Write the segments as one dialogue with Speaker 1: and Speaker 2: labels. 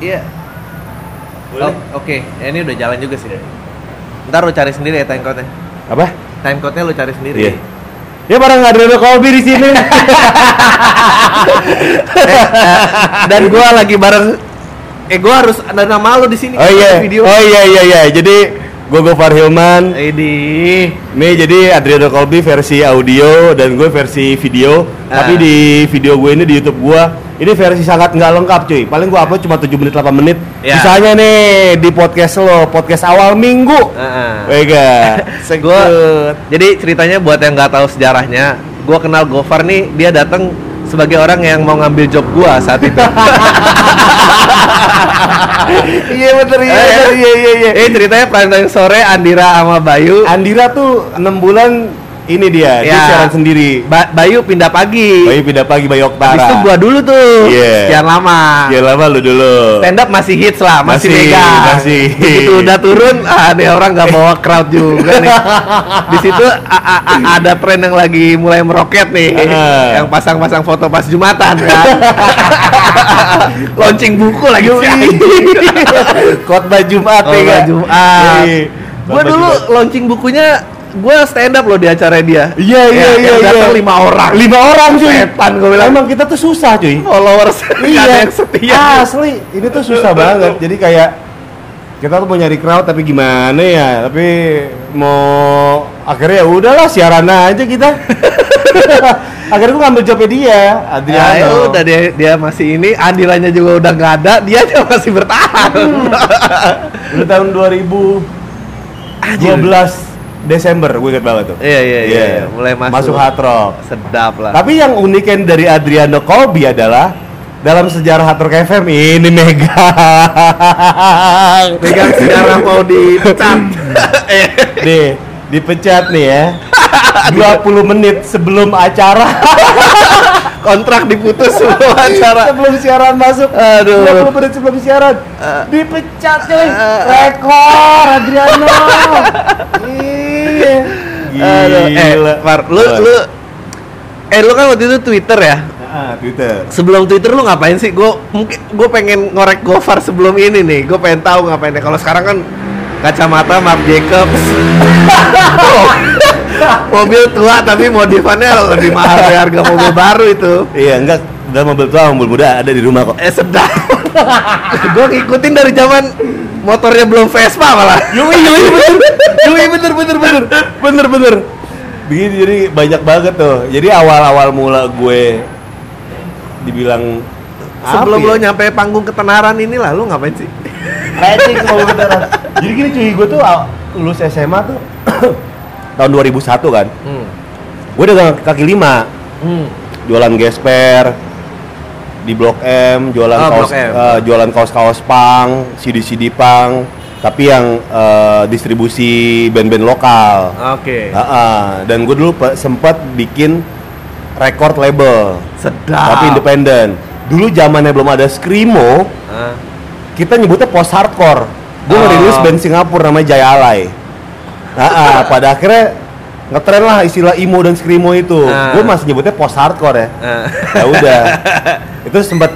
Speaker 1: Iya.
Speaker 2: Boleh.
Speaker 1: Oh, Oke, Ya, ini udah jalan juga sih. Ntar lu cari sendiri ya time code-nya.
Speaker 2: Apa?
Speaker 1: Time code-nya lu cari sendiri.
Speaker 2: Iya. Ya barang nggak ada kopi di sini.
Speaker 1: Ah, Dan gua lagi bareng eh gua harus ada nama lu di sini.
Speaker 2: oh iya.
Speaker 1: Video.
Speaker 2: Oh iya iya iya. Jadi gue Gofar Hilman.
Speaker 1: Eh, di
Speaker 2: Nih jadi Adriano Colby versi audio dan gue versi video.
Speaker 1: Ah.
Speaker 2: Tapi di video gue ini di YouTube gue ini versi sangat nggak lengkap cuy. Paling gue upload cuma 7 menit 8 menit.
Speaker 1: Ya.
Speaker 2: Misalnya nih di podcast lo, podcast awal
Speaker 1: Ah,
Speaker 2: minggu.
Speaker 1: Heeh.
Speaker 2: Wega.
Speaker 1: Gua
Speaker 2: Sekut.
Speaker 1: Jadi ceritanya buat yang nggak tahu sejarahnya, gua kenal Gofar nih dia datang sebagai orang yang mau ngambil job gua saat itu.
Speaker 2: Iya bener iya
Speaker 1: Eh,
Speaker 2: bener, iya iya iya.
Speaker 1: eh ceritanya prime time sore Andira sama Bayu.
Speaker 2: Andira tuh 6 bulan ini dia, dia
Speaker 1: Ya.
Speaker 2: siaran sendiri.
Speaker 1: Ba- Bayu pindah pagi.
Speaker 2: Bayu pindah pagi Bayu Oktara.
Speaker 1: Habis itu gua dulu tuh.
Speaker 2: Iya.
Speaker 1: Sekian lama.
Speaker 2: Ya lama lu dulu.
Speaker 1: Stand up masih hits lah, masih,
Speaker 2: Masih,
Speaker 1: mega.
Speaker 2: masih.
Speaker 1: Begitu udah turun, ah, ada orang nggak bawa crowd juga nih. Di situ a- a- a- ada tren yang lagi mulai meroket nih,
Speaker 2: Ah.
Speaker 1: yang pasang-pasang foto pas jumatan kan. Launching buku lagi
Speaker 2: Yoi.
Speaker 1: sih.
Speaker 2: Khotbah Jumat ya
Speaker 1: Khotbah
Speaker 2: kan?
Speaker 1: Jumat.
Speaker 2: Iya.
Speaker 1: Gua
Speaker 2: Khotbah
Speaker 1: dulu
Speaker 2: Jumat.
Speaker 1: launching bukunya, gua stand up loh di acara dia.
Speaker 2: Iya iya
Speaker 1: Ya,
Speaker 2: iya
Speaker 1: yang
Speaker 2: iya.
Speaker 1: datang lima orang.
Speaker 2: Lima orang cuy.
Speaker 1: Setan gua bilang.
Speaker 2: Emang kita tuh susah cuy. Iya.
Speaker 1: Followers nggak ada yang setia.
Speaker 2: Asli, ini tuh susah banget. Jadi kayak kita tuh mau nyari crowd tapi gimana ya? Tapi mau akhirnya ya udahlah siaran aja kita. akhirnya gue ngambil jobnya dia, Adriano.
Speaker 1: Ya, udah dia, dia masih ini, Andiranya juga udah nggak ada, dia aja masih bertahan.
Speaker 2: Udah tahun 2012
Speaker 1: Anjir.
Speaker 2: Desember, gue inget banget tuh.
Speaker 1: Iya, iya, iya, iya. Mulai masuk.
Speaker 2: Masuk hard rock.
Speaker 1: Sedap lah.
Speaker 2: Tapi yang unikin dari Adriano Colby adalah dalam sejarah Hard Rock FM ini megang
Speaker 1: Pegang kan sekarang mau dipecat. Eh,
Speaker 2: nih dipecat nih ya 20 menit sebelum acara
Speaker 1: Kontrak diputus semua acara.
Speaker 2: sebelum siaran masuk
Speaker 1: Aduh.
Speaker 2: 20 menit sebelum siaran dipecat cuy
Speaker 1: Eh.
Speaker 2: rekor Adriano iya
Speaker 1: Aduh. Eh, Far, lu, lu, eh lu kan waktu itu Twitter ya?
Speaker 2: Ah, Twitter
Speaker 1: Sebelum Twitter lu ngapain sih? Gue mungkin gue pengen ngorek Gofar sebelum ini nih. Gue pengen tahu ngapainnya. Kalau sekarang kan kacamata Marc Jacobs. mobil tua tapi modifannya lebih mahal dari harga mobil baru itu.
Speaker 2: iya enggak udah mobil tua mobil muda ada di rumah kok
Speaker 1: Eh sedap. gue ngikutin dari zaman motornya belum Vespa malah.
Speaker 2: Yoi yoi bener Yoi bener bener bener Bener bener Begini jadi banyak banget tuh Jadi awal-awal mula gue Dibilang
Speaker 1: Sebelum
Speaker 2: apa
Speaker 1: lo
Speaker 2: ya?
Speaker 1: nyampe panggung ketenaran inilah lu ngapain sih?
Speaker 2: Racing kalau beneran Jadi gini cuy gue tuh aw- lulus SMA tuh Tahun 2001 kan
Speaker 1: Hmm.
Speaker 2: Gue dagang kaki lima Hmm, Jualan gesper di Blok M, jualan
Speaker 1: Oh,
Speaker 2: kaos
Speaker 1: Blok M.
Speaker 2: eh, jualan kaos-kaos pang, CD-CD pang, tapi yang eh, distribusi band-band lokal.
Speaker 1: Oke.
Speaker 2: Heeh, dan gue dulu pe- sempat bikin record label
Speaker 1: Sedap.
Speaker 2: tapi independen. Dulu zamannya belum ada screamo,
Speaker 1: Ah.
Speaker 2: kita nyebutnya post hardcore. Gue
Speaker 1: Oh.
Speaker 2: ngerilis band Singapura namanya Jaya Alai. Heeh, pada akhirnya ngetren lah istilah emo dan screamo itu.
Speaker 1: Ah.
Speaker 2: Gue masih nyebutnya post hardcore ya.
Speaker 1: Ah.
Speaker 2: Ya udah. itu sempat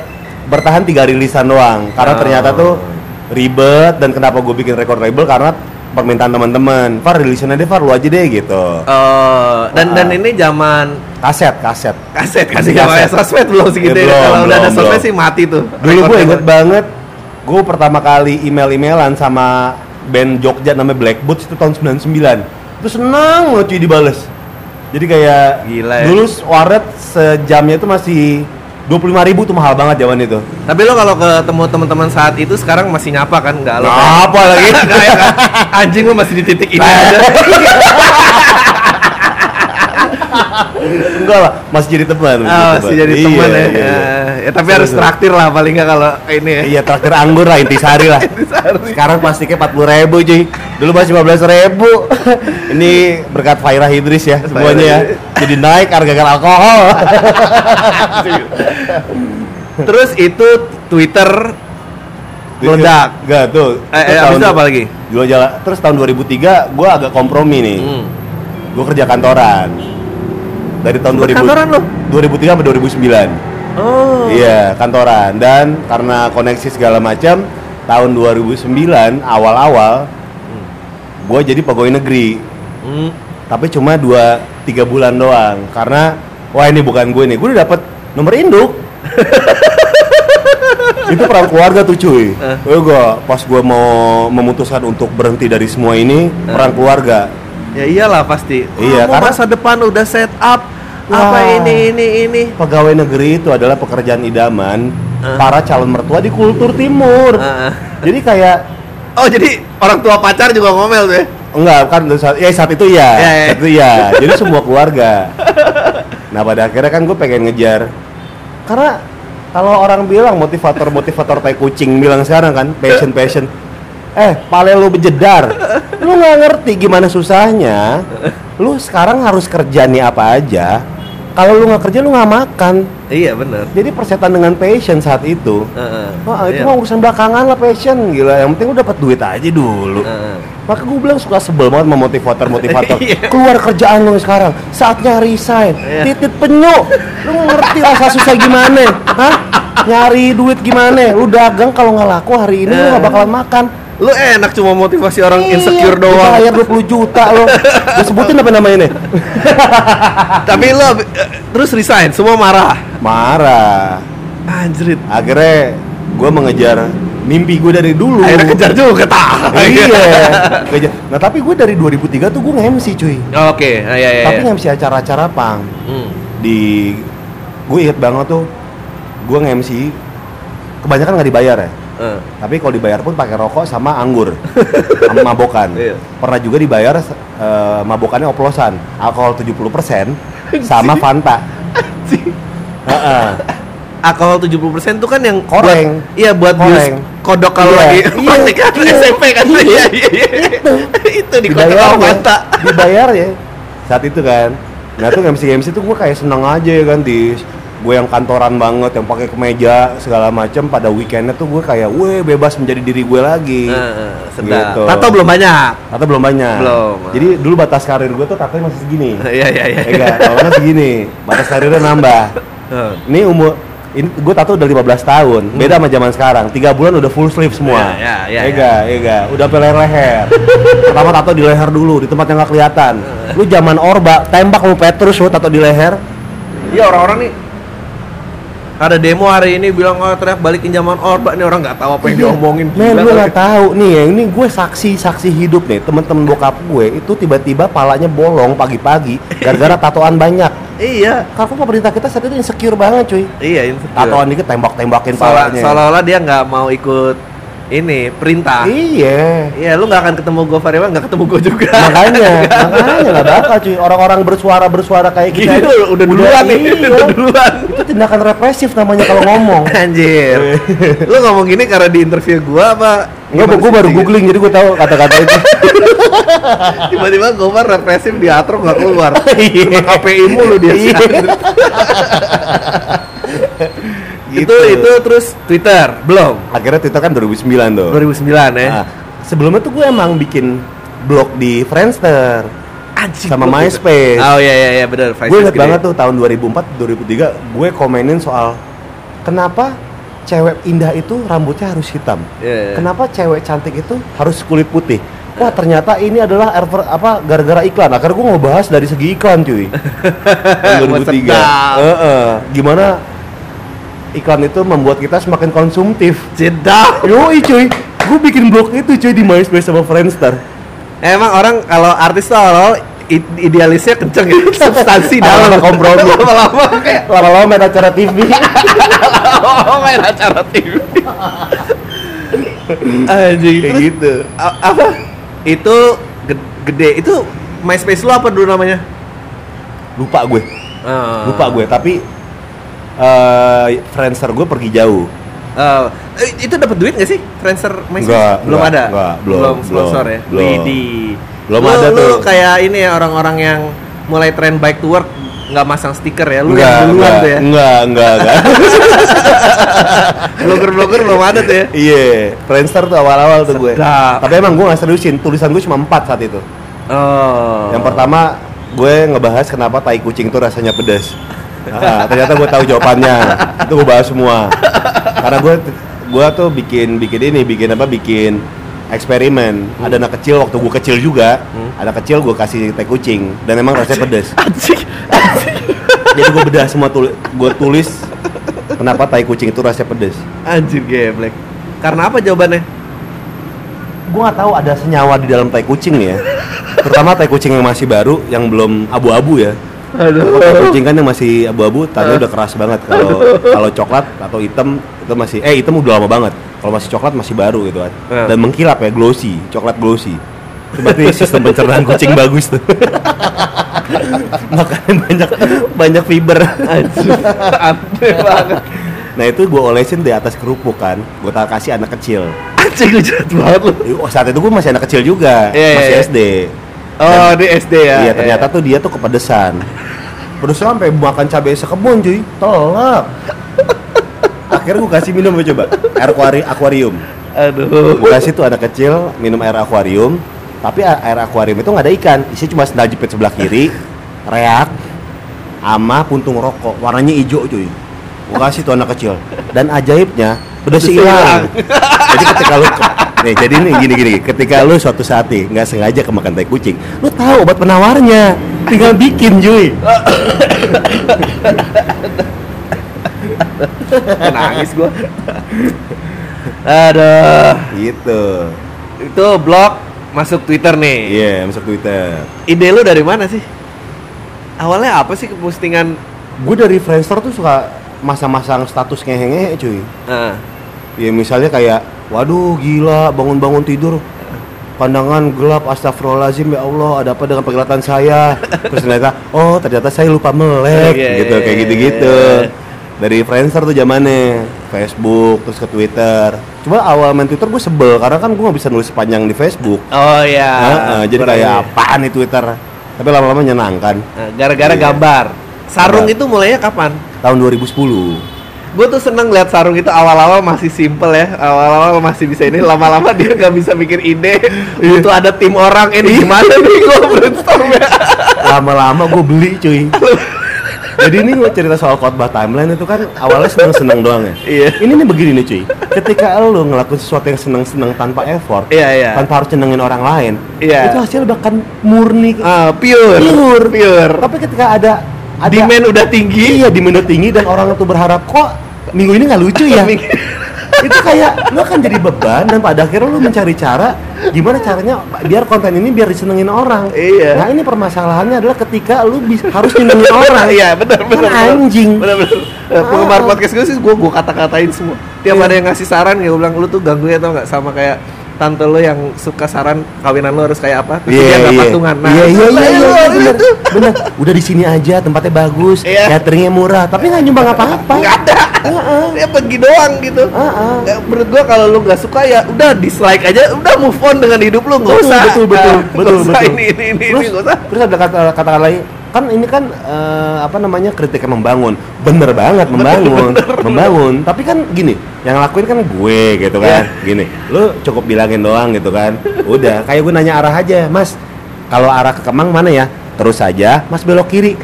Speaker 2: bertahan tiga rilisan doang karena
Speaker 1: Oh.
Speaker 2: ternyata tuh ribet dan kenapa gue bikin record label karena permintaan teman-teman. Far rilisannya deh, Far lu aja deh gitu.
Speaker 1: Eh, dan dan
Speaker 2: Ah.
Speaker 1: ini zaman
Speaker 2: Kaset, kaset.
Speaker 1: kaset kan
Speaker 2: Masih
Speaker 1: sih kalau
Speaker 2: kaset.
Speaker 1: sosmed belum segitu ya,
Speaker 2: Ya, belum,
Speaker 1: kalau udah ada
Speaker 2: belum,
Speaker 1: sosmed
Speaker 2: belum.
Speaker 1: sih mati tuh
Speaker 2: Dulu gue
Speaker 1: Rekorder.
Speaker 2: inget banget, gue pertama kali email-emailan sama band Jogja namanya Black Boots itu tahun 99 Itu senang banget cuy dibales Jadi kayak
Speaker 1: Gila ya.
Speaker 2: dulu warnet sejamnya itu masih 25.000 ribu tuh mahal banget zaman itu
Speaker 1: tapi lo kalau ketemu teman-teman saat itu sekarang masih nyapa kan nggak lo kayak- Nah.
Speaker 2: Apa lagi?
Speaker 1: Nggak ya kan? anjing lo masih di titik ini aja Oh,
Speaker 2: Enggak lah, masih jadi teman
Speaker 1: oh, masih jadi
Speaker 2: Iya,
Speaker 1: teman ya.
Speaker 2: iya.
Speaker 1: ya tapi harus
Speaker 2: Seru-seru.
Speaker 1: traktir lah paling nggak kalau ini ya
Speaker 2: Iya traktir anggur lah intisari lah. Sekarang plastiknya 40.000 ribu cuy. Dulu masih 15.000 ribu. Ini berkat Fairah Idris ya semuanya ya. Jadi naik harga alkohol.
Speaker 1: Iya. terus itu Twitter meledak
Speaker 2: Enggak Iya. tuh.
Speaker 1: Eh, eh, abis itu apa lagi?
Speaker 2: Gua jalan. Terus tahun 2003 gua agak kompromi nih.
Speaker 1: Hmm.
Speaker 2: Gua kerja kantoran. Dari tahun 2000
Speaker 1: Kantoran lu?
Speaker 2: 2003 sampai 2009.
Speaker 1: Oh.
Speaker 2: Iya, kantoran dan karena koneksi segala macam tahun 2009 awal-awal gue jadi pegawai negeri
Speaker 1: Hmm.
Speaker 2: tapi cuma 2 3 bulan doang karena wah ini bukan gue nih. Gue udah dapet nomor induk. itu perang keluarga tuh cuy.
Speaker 1: Eh.
Speaker 2: Gue pas gue mau memutuskan untuk berhenti dari semua ini
Speaker 1: Eh.
Speaker 2: perang keluarga.
Speaker 1: Ya iyalah pasti.
Speaker 2: Iya,
Speaker 1: Kamu
Speaker 2: karena-
Speaker 1: masa depan udah set up apa
Speaker 2: Wah.
Speaker 1: ini ini ini.
Speaker 2: Pegawai negeri itu adalah pekerjaan idaman
Speaker 1: Eh.
Speaker 2: para calon mertua di kultur timur.
Speaker 1: Ah, ah.
Speaker 2: Jadi kayak
Speaker 1: Oh, jadi orang tua pacar juga ngomel tuh ya.
Speaker 2: Enggak, kan saat, ya saat itu ya,
Speaker 1: Ya, ya.
Speaker 2: saat itu ya. Jadi semua keluarga. Nah pada akhirnya kan gue pengen ngejar, karena kalau orang bilang motivator motivator tai kucing bilang sekarang kan passion passion, eh pale lu bejedar, lu nggak ngerti gimana susahnya. Lu sekarang harus kerja nih apa aja. Kalau lu nggak kerja lu nggak makan.
Speaker 1: Iya, bener
Speaker 2: Jadi persetan dengan passion saat itu.
Speaker 1: Heeh.
Speaker 2: Wah, itu
Speaker 1: Iya.
Speaker 2: mah urusan belakangan lah passion gila. Yang penting lu dapat duit aja dulu.
Speaker 1: Heeh.
Speaker 2: Maka gue bilang suka sebel banget sama motivator-motivator
Speaker 1: Iya.
Speaker 2: Keluar kerjaan lu sekarang, saatnya resign
Speaker 1: Iya.
Speaker 2: Titit penyu, lu nggak ngerti rasa susah gimana Hah? Nyari duit gimana, lu dagang kalau nggak laku hari ini lu nggak bakalan makan
Speaker 1: Lu enak cuma motivasi orang
Speaker 2: Iya,
Speaker 1: Eh. insecure
Speaker 2: lu
Speaker 1: doang.
Speaker 2: Bayar 20 juta lo Gue sebutin apa namanya nih?
Speaker 1: Tapi lu eh, terus resign, semua marah.
Speaker 2: Marah
Speaker 1: Anjrit.
Speaker 2: Akhirnya gue mengejar mimpi gue dari dulu
Speaker 1: Akhirnya kejar juga tah.
Speaker 2: Iya Kejar. Nah tapi gue dari 2003 tuh gue nge-MC cuy
Speaker 1: Oke, ah, iya iya.
Speaker 2: Tapi
Speaker 1: iya.
Speaker 2: nge-MC acara-acara pang
Speaker 1: Hmm.
Speaker 2: di gue inget banget tuh gue nge-MC kebanyakan nggak dibayar ya
Speaker 1: Eh.
Speaker 2: tapi kalau dibayar pun pakai rokok sama anggur sama mabokan
Speaker 1: Iya.
Speaker 2: pernah juga dibayar eh, mabokannya oplosan alkohol 70% sama Fanta Heeh.
Speaker 1: Alkohol 70% itu kan yang
Speaker 2: Koreng.
Speaker 1: buat- Iya, buat
Speaker 2: Koreng.
Speaker 1: bius kodok kalau
Speaker 2: Iya.
Speaker 1: lagi
Speaker 2: Iya,
Speaker 1: pasti kan
Speaker 2: iya.
Speaker 1: SMP kan. Iya, iya, iya. Itu di kodok sama
Speaker 2: dibayar ya
Speaker 1: mata.
Speaker 2: dibayar ya saat itu kan nah tuh MC MC tuh gue kayak seneng aja ya kan di gue yang kantoran banget yang pakai kemeja segala macem pada weekendnya tuh gue kayak weh bebas menjadi diri gue lagi
Speaker 1: Heeh, sedap.
Speaker 2: Gitu.
Speaker 1: Tato belum banyak.
Speaker 2: Tato belum banyak.
Speaker 1: Belum.
Speaker 2: Jadi dulu batas karir gue tuh tatonya masih segini.
Speaker 1: Iya, iya, iya.
Speaker 2: ya enggak, kalau nggak segini, batas karirnya nambah.
Speaker 1: Heeh.
Speaker 2: Ini umur ini gue tato udah 15 tahun, beda sama zaman sekarang. Tiga bulan udah full sleeve semua.
Speaker 1: Hmm. Iya, iya, iya,
Speaker 2: Ya enggak, ya enggak. Udah sampai leher. Pertama tato di leher dulu, di tempat yang nggak kelihatan. Lu zaman Orba, tembak lu Petrus lu tato di leher.
Speaker 1: Iya orang-orang nih ada demo hari ini bilang oh teriak balikin zaman orba nih orang nggak tahu
Speaker 2: Iya.
Speaker 1: apa yang diomongin. Gila
Speaker 2: Men, gue
Speaker 1: kali.
Speaker 2: nggak tahu nih ya. Ini gue saksi-saksi hidup nih. Temen-temen bokap gue itu tiba-tiba palanya bolong pagi-pagi gara-gara tatoan banyak.
Speaker 1: Iya,
Speaker 2: Karena pemerintah kita saat itu insecure banget cuy
Speaker 1: iya insecure.
Speaker 2: Tatoan dikit tembak-tembakin
Speaker 1: Seolah-
Speaker 2: palanya
Speaker 1: seolah-olah dia nggak mau ikut ini perintah.
Speaker 2: Iya
Speaker 1: Iya, lu nggak akan ketemu gue Farewell, nggak ketemu gue juga.
Speaker 2: Makanya, makanya gak bakal cuy Orang-orang bersuara-bersuara kayak
Speaker 1: Gitu,
Speaker 2: kita
Speaker 1: udah, duluan nih,
Speaker 2: iya.
Speaker 1: udah duluan.
Speaker 2: Itu tindakan represif namanya kalau ngomong
Speaker 1: Anjir. lu ngomong gini karena di interview gua apa?
Speaker 2: Enggak,
Speaker 1: Gimana
Speaker 2: gue
Speaker 1: sih?
Speaker 2: baru googling jadi gue tahu kata-kata itu
Speaker 1: Tiba-tiba Gomar represif diatur nggak keluar. Kena KPI mulu dia sih.
Speaker 2: Iya.
Speaker 1: Itu
Speaker 2: Gitu.
Speaker 1: itu terus Twitter belum
Speaker 2: Akhirnya Twitter kan 2009 tuh
Speaker 1: 2009 ya.
Speaker 2: Nah, Sebelumnya tuh gue emang bikin blog di Friendster
Speaker 1: Anjing.
Speaker 2: sama
Speaker 1: gua Twitter.
Speaker 2: MySpace.
Speaker 1: Oh iya iya iya benar.
Speaker 2: gue inget banget tuh tahun 2004 2003 gue komenin soal kenapa cewek indah itu rambutnya harus hitam
Speaker 1: Iya, iya.
Speaker 2: kenapa cewek cantik itu harus kulit putih wah ternyata ini adalah adver- apa gara-gara iklan Nah, akhirnya gue ngebahas dari segi iklan cuy tahun 2003
Speaker 1: Sedap.
Speaker 2: Heeh. gimana iklan itu membuat kita semakin konsumtif
Speaker 1: Jeda.
Speaker 2: yoi cuy gue bikin blog itu cuy di MySpace sama Friendster
Speaker 1: Emang orang kalau artis tuh awal i- idealisnya kenceng ya, substansi dalam
Speaker 2: Lama-lama kompromi.
Speaker 1: lama-lama kayak
Speaker 2: lama-lama main acara TV
Speaker 1: lama-lama main acara TV. Anjing
Speaker 2: kayak
Speaker 1: terus
Speaker 2: gitu
Speaker 1: a- apa? Itu ge- gede itu MySpace lu apa dulu namanya?
Speaker 2: lupa gue
Speaker 1: Ah.
Speaker 2: lupa gue tapi eh friendster gue pergi jauh
Speaker 1: Ah, eh, itu dapat duit gak sih? Friendster MySpace?
Speaker 2: Enggak,
Speaker 1: belum
Speaker 2: enggak,
Speaker 1: ada.
Speaker 2: enggak, belum,
Speaker 1: sponsor
Speaker 2: belum,
Speaker 1: ya.
Speaker 2: belum.
Speaker 1: Widih.
Speaker 2: Belum
Speaker 1: Lu-
Speaker 2: ada
Speaker 1: Lu
Speaker 2: tuh.
Speaker 1: kayak ini ya orang-orang yang mulai tren bike to work nggak masang stiker ya. Lu yang duluan
Speaker 2: enggak,
Speaker 1: tuh ya.
Speaker 2: enggak enggak enggak
Speaker 1: Blogger-blogger belum ada tuh ya.
Speaker 2: iya friendster tuh awal-awal tuh gue
Speaker 1: Sedap.
Speaker 2: tapi emang gue nggak seriusin tulisan gue cuma empat saat itu
Speaker 1: Oh.
Speaker 2: yang pertama gue ngebahas kenapa tai kucing tuh rasanya pedas Ah, ternyata gue tahu jawabannya. Itu gue bahas semua. Karena gue gua tuh bikin bikin ini, bikin apa? Bikin eksperimen. Ada anak kecil waktu gue kecil juga. Anak kecil gue kasih teh kucing dan emang rasanya pedes.
Speaker 1: Anjing.
Speaker 2: Jadi gue bedah semua tulis, gue tulis kenapa tai kucing itu rasanya pedes.
Speaker 1: Anjir geblek. Karena apa jawabannya?
Speaker 2: Gue nggak tahu ada senyawa di dalam tai kucing ya. Terutama tai kucing yang masih baru, yang belum abu-abu ya. Kalau kayak kucing kan yang masih abu-abu, tandanya udah keras banget. Kalau kalau coklat atau hitam itu masih eh hitam udah lama banget. Kalau masih coklat masih baru gitu kan.
Speaker 1: Hmm.
Speaker 2: Dan mengkilap ya glossy, coklat glossy. Itu Berarti sistem pencernaan kucing bagus tuh. Makanya banyak banyak fiber.
Speaker 1: Anjir. Aneh banget.
Speaker 2: Nah itu gue olesin di atas kerupuk kan. Gue kasih anak kecil.
Speaker 1: Anjing lu jahat banget lu.
Speaker 2: Oh, saat itu gue masih anak kecil juga,
Speaker 1: Iya, iya,
Speaker 2: masih
Speaker 1: iya.
Speaker 2: SD.
Speaker 1: Oh, di SD ya.
Speaker 2: Iya ternyata tuh dia tuh kepedesan. Pedes sampai makan cabai sekebun cuy, telak. Akhirnya gue kasih minum gua coba air aquari- akuarium.
Speaker 1: Aduh.
Speaker 2: Gue kasih tuh anak kecil minum air akuarium, tapi a- air akuarium itu nggak ada ikan, isinya cuma sendal jepit sebelah kiri, reak, ama puntung rokok, warnanya hijau cuy. Gue kasih tuh anak kecil dan ajaibnya pedesnya
Speaker 1: Pedesnya
Speaker 2: hilang. jadi ketika lu nih jadi nih gini gini ketika lu suatu saat nih nggak sengaja kemakan tai kucing lu tahu obat penawarnya tinggal bikin cuy
Speaker 1: Nangis gua. Aduh.
Speaker 2: gitu
Speaker 1: Itu blog masuk Twitter nih.
Speaker 2: iya masuk twitter
Speaker 1: Ide lu dari mana sih? Awalnya apa sih kepostingan?
Speaker 2: gue dari Friendster tuh suka masang-masang status ngehe cuy
Speaker 1: Heeh.
Speaker 2: Ya misalnya kayak, waduh gila bangun-bangun tidur pandangan gelap astagfirullahaladzim ya Allah ada apa dengan pergelatan saya terus ternyata oh ternyata saya lupa melek
Speaker 1: Iya,
Speaker 2: gitu
Speaker 1: iya,
Speaker 2: kayak
Speaker 1: iya,
Speaker 2: gitu-gitu
Speaker 1: iya.
Speaker 2: dari Friendster tuh zamannya Facebook terus ke Twitter cuma awal main Twitter gue sebel karena kan gue nggak bisa nulis sepanjang di Facebook
Speaker 1: Oh ya.
Speaker 2: Heeh, jadi
Speaker 1: Kurang ya.
Speaker 2: kayak
Speaker 1: ini.
Speaker 2: apaan nih Twitter tapi lama-lama menyenangkan
Speaker 1: Nah, gara-gara
Speaker 2: Iya.
Speaker 1: gambar. Sarung
Speaker 2: Gambar.
Speaker 1: itu mulainya kapan?
Speaker 2: tahun 2010
Speaker 1: Gue tuh seneng lihat sarung itu awal-awal masih simple ya, awal-awal masih bisa ini, lama-lama dia nggak bisa mikir ide, butuh ada tim orang "Eh, ini gimana nih gue brainstorm ya.
Speaker 2: lama-lama gue beli cuy jadi ini gue cerita soal khotbah timeline itu kan awalnya seneng-seneng doang ya
Speaker 1: Iya.
Speaker 2: ini nih begini nih cuy ketika lo ngelakuin sesuatu yang seneng-seneng tanpa effort
Speaker 1: Iya, iya.
Speaker 2: tanpa harus nyenengin orang lain
Speaker 1: Iya.
Speaker 2: itu hasilnya bahkan murni
Speaker 1: Ah, pure,
Speaker 2: Pure.
Speaker 1: pure.
Speaker 2: tapi ketika ada ada
Speaker 1: Demand udah tinggi.
Speaker 2: iya demand tinggi dan orang itu berharap kok minggu ini nggak lucu ya itu kayak lo kan jadi beban dan pada akhirnya lo mencari cara gimana caranya biar konten ini biar disenengin orang
Speaker 1: Iya.
Speaker 2: nah ini permasalahannya adalah ketika lo bis- harus nyenengin orang Kan
Speaker 1: Iya, benar benar. benar.
Speaker 2: anjing.
Speaker 1: Benar benar.
Speaker 2: Ah,
Speaker 1: Eh, Penggemar
Speaker 2: oh.
Speaker 1: podcast gue sih gue gue kata-katain semua. Tiap
Speaker 2: Iya.
Speaker 1: ada yang ngasih saran gue bilang lu tuh ganggu ya tau nggak sama kayak tante lo yang suka saran kawinan lo harus kayak apa? Terus dia nggak patungan. Nah,
Speaker 2: iya, iya,
Speaker 1: itu
Speaker 2: iya,
Speaker 1: saya
Speaker 2: iya,
Speaker 1: lu
Speaker 2: iya,
Speaker 1: harus
Speaker 2: bener,
Speaker 1: itu.
Speaker 2: bener. Udah di sini aja, tempatnya bagus,
Speaker 1: Iya.
Speaker 2: cateringnya murah, tapi nggak nyumbang apa-apa.
Speaker 1: Nggak ada.
Speaker 2: Ah,
Speaker 1: Dia pergi doang gitu.
Speaker 2: Heeh.
Speaker 1: Ya, menurut gua kalau lu nggak suka ya udah dislike aja, udah move on dengan hidup lu nggak
Speaker 2: Betul,
Speaker 1: usah.
Speaker 2: betul, betul,
Speaker 1: eh,
Speaker 2: betul,
Speaker 1: nggak usah
Speaker 2: betul.
Speaker 1: Ini ini ini
Speaker 2: Terus,
Speaker 1: ini, nggak usah.
Speaker 2: terus ada kata kata lain, kan ini kan eh, apa namanya kritik yang membangun, bener banget membangun, membangun. Tapi kan gini, yang lakuin kan gue gitu kan,
Speaker 1: Iya.
Speaker 2: gini. Lu cukup bilangin doang gitu kan. Udah, kayak gue nanya arah aja, Mas. Kalau arah ke Kemang mana ya? Terus aja, Mas belok kiri.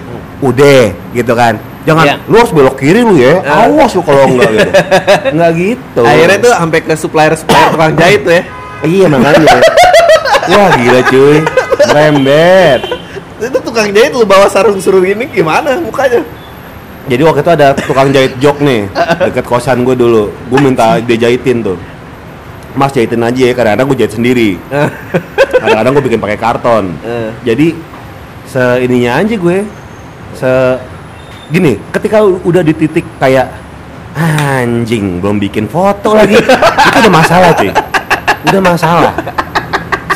Speaker 2: Udah, gitu kan. Jangan,
Speaker 1: Iya.
Speaker 2: lu harus belok kiri lu ya.
Speaker 1: Ah.
Speaker 2: Awas lu kalau enggak gitu. Enggak gitu.
Speaker 1: Akhirnya tuh ah. sampai ke supplier supplier tukang jahit tuh ya.
Speaker 2: Iya makanya. Wah gila cuy, rembet.
Speaker 1: Itu tukang jahit lu bawa sarung suruh ini gimana mukanya?
Speaker 2: Jadi waktu itu ada tukang jahit jok nih deket kosan gue dulu. Gue minta dia jahitin tuh. Mas jahitin aja ya, kadang-kadang gue jahit sendiri. Kadang-kadang gue bikin pakai karton.
Speaker 1: Eh.
Speaker 2: Jadi seininya aja gue se gini ketika u- udah di titik kayak anjing belum bikin foto lagi itu udah masalah cuy udah masalah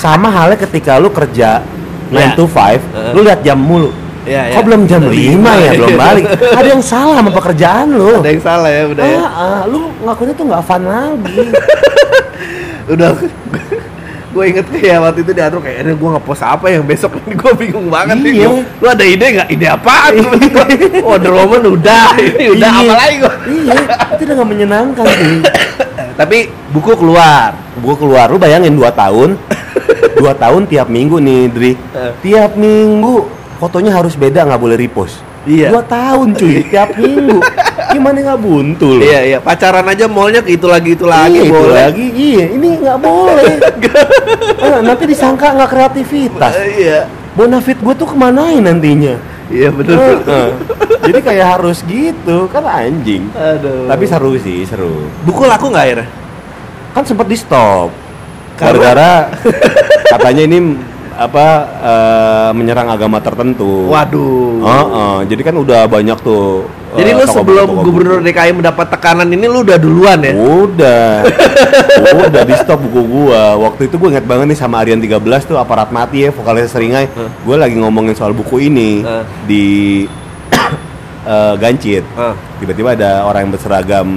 Speaker 2: sama halnya ketika lu kerja 9
Speaker 1: Ya.
Speaker 2: to 5 lu lihat jam mulu
Speaker 1: Ya, ya.
Speaker 2: kok belum jam 5
Speaker 1: Lima,
Speaker 2: ya
Speaker 1: ya.
Speaker 2: belum balik ada yang salah sama pekerjaan lu
Speaker 1: Ada yang salah ya udah ya.
Speaker 2: ah, ah, lu ngakuinnya tuh nggak fun lagi
Speaker 1: Udah gue inget kayak waktu itu diatur kayak ini gue ngepost apa yang besok ini gue bingung banget nih
Speaker 2: Iya.
Speaker 1: Gua, lu ada ide nggak ide apaan Wonder Woman udah ini udah
Speaker 2: Iya.
Speaker 1: apa lagi gua?
Speaker 2: iya itu udah nggak menyenangkan cuy
Speaker 1: tapi buku keluar
Speaker 2: gue keluar lu bayangin 2 tahun 2 tahun tiap minggu nih Dri
Speaker 1: Eh.
Speaker 2: tiap minggu fotonya harus beda nggak boleh repost
Speaker 1: Iya.
Speaker 2: Dua tahun cuy tiap minggu. Gimana nggak buntu lu?
Speaker 1: Iya iya, pacaran aja mallnya ke itu lagi itu lagi
Speaker 2: Iya, itu
Speaker 1: boleh.
Speaker 2: lagi. Iya, ini nggak boleh. Eh, nanti disangka nggak kreativitas.
Speaker 1: Eh, iya.
Speaker 2: Bonafit gue tuh kemanain nantinya?
Speaker 1: Iya benar.
Speaker 2: Heeh. Jadi kayak harus gitu kan anjing.
Speaker 1: Aduh.
Speaker 2: Tapi seru sih, seru.
Speaker 1: buku laku nggak akhirnya?
Speaker 2: Kan sempat di stop.
Speaker 1: Karena-
Speaker 2: Gara-gara katanya ini apa eh, menyerang agama tertentu.
Speaker 1: Waduh.
Speaker 2: Heeh, jadi kan udah banyak tuh. eh,
Speaker 1: Jadi lu
Speaker 2: tokoh-tokoh
Speaker 1: sebelum
Speaker 2: buku. Oh.
Speaker 1: gubernur DKI mendapat tekanan ini lu udah duluan ya?
Speaker 2: Udah, udah di stop buku gua. Waktu itu gua ingat banget nih sama Aryan 13 tuh aparat mati ya vokalis Seringai.
Speaker 1: Hah.
Speaker 2: Gua lagi ngomongin soal buku ini
Speaker 1: Hah.
Speaker 2: di eh, Gancit.
Speaker 1: Hah.
Speaker 2: Tiba-tiba ada orang yang berseragam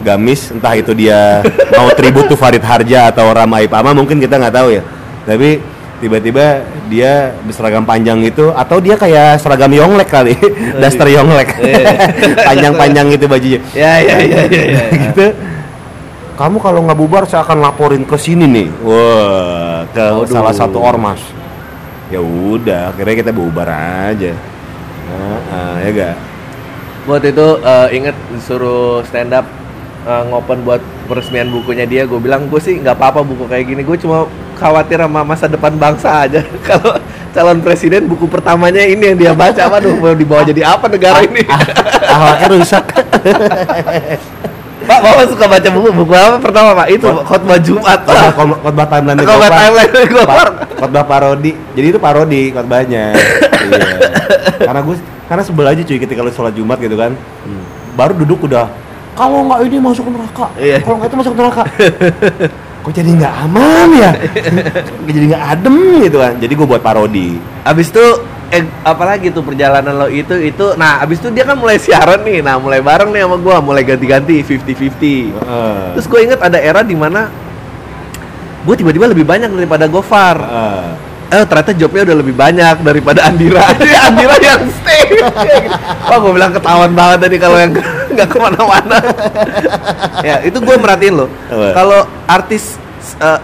Speaker 2: gamis, entah itu dia mau tribut tuh Farid Harja atau Rama Ipama mungkin kita nggak tahu ya. Tapi tiba-tiba dia berseragam panjang itu atau dia kayak seragam Yonglek kali, daster Yonglek.
Speaker 1: Oh, Iya.
Speaker 2: Panjang-panjang itu bajunya
Speaker 1: Ya ya ya ya. ya.
Speaker 2: gitu kamu kalau nggak bubar saya akan laporin ke sini nih wah ke
Speaker 1: Waduh.
Speaker 2: salah satu ormas ya udah akhirnya kita bubar aja Nah, ah, ya gak
Speaker 1: Waktu itu eh, inget disuruh stand up eh, ngopen buat peresmian bukunya dia gue bilang gue sih nggak apa-apa buku kayak gini gue cuma khawatir sama masa depan bangsa aja kalau calon presiden buku pertamanya ini yang dia baca waduh mau dibawa jadi apa negara ini
Speaker 2: akhlaknya rusak
Speaker 1: pak bapak suka baca buku buku apa pertama pak itu Pak, khotbah jumat
Speaker 2: Khotbah-
Speaker 1: Pak.
Speaker 2: khotbah- khotbah timeline di
Speaker 1: Khotbah
Speaker 2: Gopar.
Speaker 1: timeline di Gopar.
Speaker 2: Pa- khotbah parodi jadi itu parodi khotbahnya iya. karena gue karena sebel aja cuy ketika lu sholat jumat gitu kan
Speaker 1: Hmm.
Speaker 2: baru duduk udah kalau nggak ini masuk neraka
Speaker 1: Iya.
Speaker 2: kalau nggak itu masuk neraka kok jadi nggak aman ya Kok jadi nggak adem gitu kan jadi gue buat parodi
Speaker 1: abis itu eh, apalagi tuh perjalanan lo itu itu nah abis itu dia kan mulai siaran nih nah mulai bareng nih sama gue mulai ganti-ganti 50-50 Terus gue inget ada era di mana gue tiba-tiba lebih banyak daripada Gofar.
Speaker 2: Heeh.
Speaker 1: Eh ternyata jobnya udah lebih banyak daripada Andira. Jadi Andira yang stay. Wah gue bilang ketahuan banget tadi kalau yang nggak kemana-mana. ya itu gue merhatiin loh.
Speaker 2: Apa?
Speaker 1: Kalau artis eh,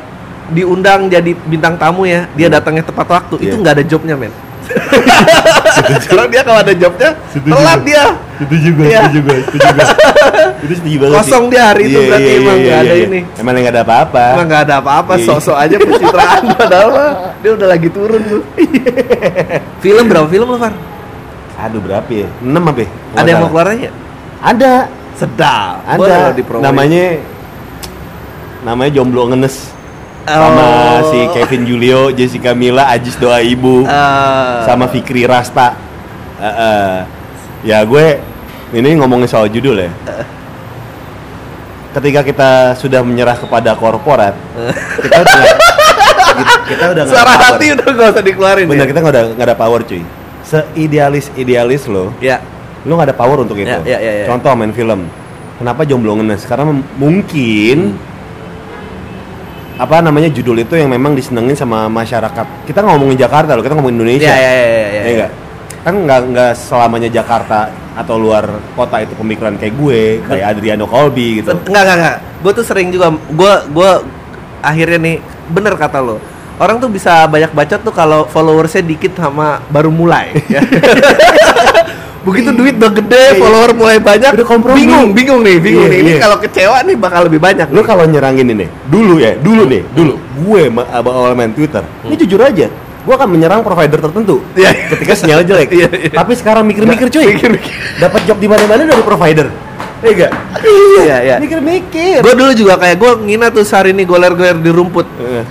Speaker 1: diundang jadi bintang tamu ya, dia datangnya tepat waktu. Itu
Speaker 2: Hmm. Iya.
Speaker 1: nggak ada jobnya men. Sekarang dia kalau ada jobnya,
Speaker 2: Setuju.
Speaker 1: telat dia.
Speaker 2: setuju gue
Speaker 1: Iya.
Speaker 2: setuju gue setuju gue itu setuju banget
Speaker 1: Kosong
Speaker 2: sih.
Speaker 1: dia hari itu,
Speaker 2: Iya,
Speaker 1: berarti
Speaker 2: iya,
Speaker 1: emang
Speaker 2: iya,
Speaker 1: nggak
Speaker 2: iya,
Speaker 1: ada
Speaker 2: iya.
Speaker 1: ini.
Speaker 2: emang nggak ada apa-apa
Speaker 1: Emang nggak ada apa-apa,
Speaker 2: Iya.
Speaker 1: sosok aja pencitraan padahal mah dia udah lagi turun tuh. film berapa film lu, Far?
Speaker 2: aduh berapa ya enam apa ya?
Speaker 1: ada yang mau
Speaker 2: Nggak
Speaker 1: keluar aja?
Speaker 2: salah. ada
Speaker 1: Sedap. Boleh
Speaker 2: ada
Speaker 1: lo dipromoin.
Speaker 2: namanya namanya jomblo ngenes sama
Speaker 1: Oh.
Speaker 2: si Kevin Julio, Jessica Mila, Ajis doa ibu,
Speaker 1: Eh,
Speaker 2: sama Fikri Rasta. Eh, eh. Ya gue ini ngomongin soal judul ya. Ketika kita sudah menyerah kepada korporat, kita udah kita udah nggak
Speaker 1: Eh. suara
Speaker 2: ada power.
Speaker 1: hati udah gak usah dikeluarin
Speaker 2: Bener
Speaker 1: ya.
Speaker 2: kita nggak ada nggak ada power cuy. Seidealis idealis lo,
Speaker 1: Ya.
Speaker 2: lu nggak ada power untuk itu.
Speaker 1: Ya, ya, ya, ya.
Speaker 2: Contoh main film. Kenapa jomblo ngenes? Karena mem- mungkin apa namanya judul itu yang memang disenengin sama masyarakat. Kita nggak ngomongin Jakarta loh, kita ngomongin Indonesia.
Speaker 1: Ya ya ya ya. ya,
Speaker 2: Ya nggak? Kan nggak nggak selamanya Jakarta atau luar kota itu pemikiran kayak gue, kayak Adriano Colby gitu.
Speaker 1: Enggak enggak enggak. Gue tuh sering juga gue gue akhirnya nih bener kata lo. Orang tuh bisa banyak bacot tuh kalau followersnya dikit sama baru mulai. ya. Begitu duit udah gede, follower mulai banyak,
Speaker 2: Iya. Udah kompromi.
Speaker 1: bingung, bingung nih, bingung
Speaker 2: Iya,
Speaker 1: nih. Ini
Speaker 2: iya.
Speaker 1: kalau kecewa nih bakal lebih banyak.
Speaker 2: Lu kalau nyerangin ini, dulu ya, dulu nih, dulu gue ma- awal main Twitter. Ini jujur aja, gue akan menyerang provider tertentu.
Speaker 1: Hmm. Iya.
Speaker 2: Ketika sinyal jelek.
Speaker 1: Iya, iya.
Speaker 2: Tapi sekarang mikir-mikir cuy.
Speaker 1: Mikir-mikir.
Speaker 2: Dapat job di mana-mana dari provider. Iya enggak?
Speaker 1: Iya, iya.
Speaker 2: Mikir-mikir.
Speaker 1: Gue dulu juga kayak gue ngina tuh sehari ini goler-goler di rumput.
Speaker 2: Eh,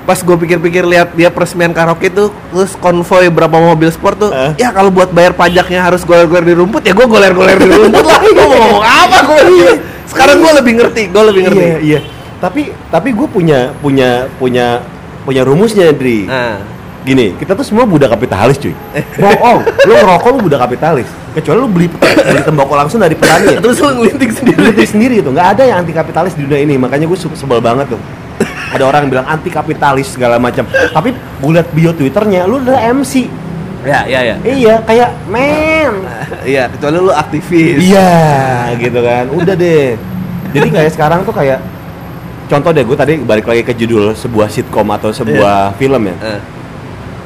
Speaker 1: Pas gue pikir-pikir lihat dia peresmian karaoke tuh, terus konvoy berapa mobil sport tuh,
Speaker 2: Eh.
Speaker 1: ya kalau buat bayar pajaknya harus goler-goler di rumput, ya gue goler-goler di rumput lah. Gue mau ngomong apa gue? Sekarang gue lebih ngerti, gue lebih ngerti.
Speaker 2: Iya, iya. Tapi tapi gue punya punya punya punya rumusnya, Dri.
Speaker 1: Nah,
Speaker 2: Gini, kita tuh semua budak kapitalis cuy Bohong, lu ngerokok lu budak kapitalis Kecuali lu beli, beli tembakau langsung dari petani ya.
Speaker 1: terus lu ngelinting sendiri.
Speaker 2: Lu beli sendiri itu nggak ada yang anti kapitalis di dunia ini makanya gue su- sebel banget tuh ada orang yang bilang anti kapitalis segala macam tapi gue liat bio twitternya lu udah MC
Speaker 1: Ya, ya, ya.
Speaker 2: iya kayak men
Speaker 1: Iya, kecuali lu aktivis.
Speaker 2: iya gitu kan udah deh jadi kayak sekarang tuh kayak contoh deh gue tadi balik lagi ke judul sebuah sitkom atau sebuah film ya
Speaker 1: Eh,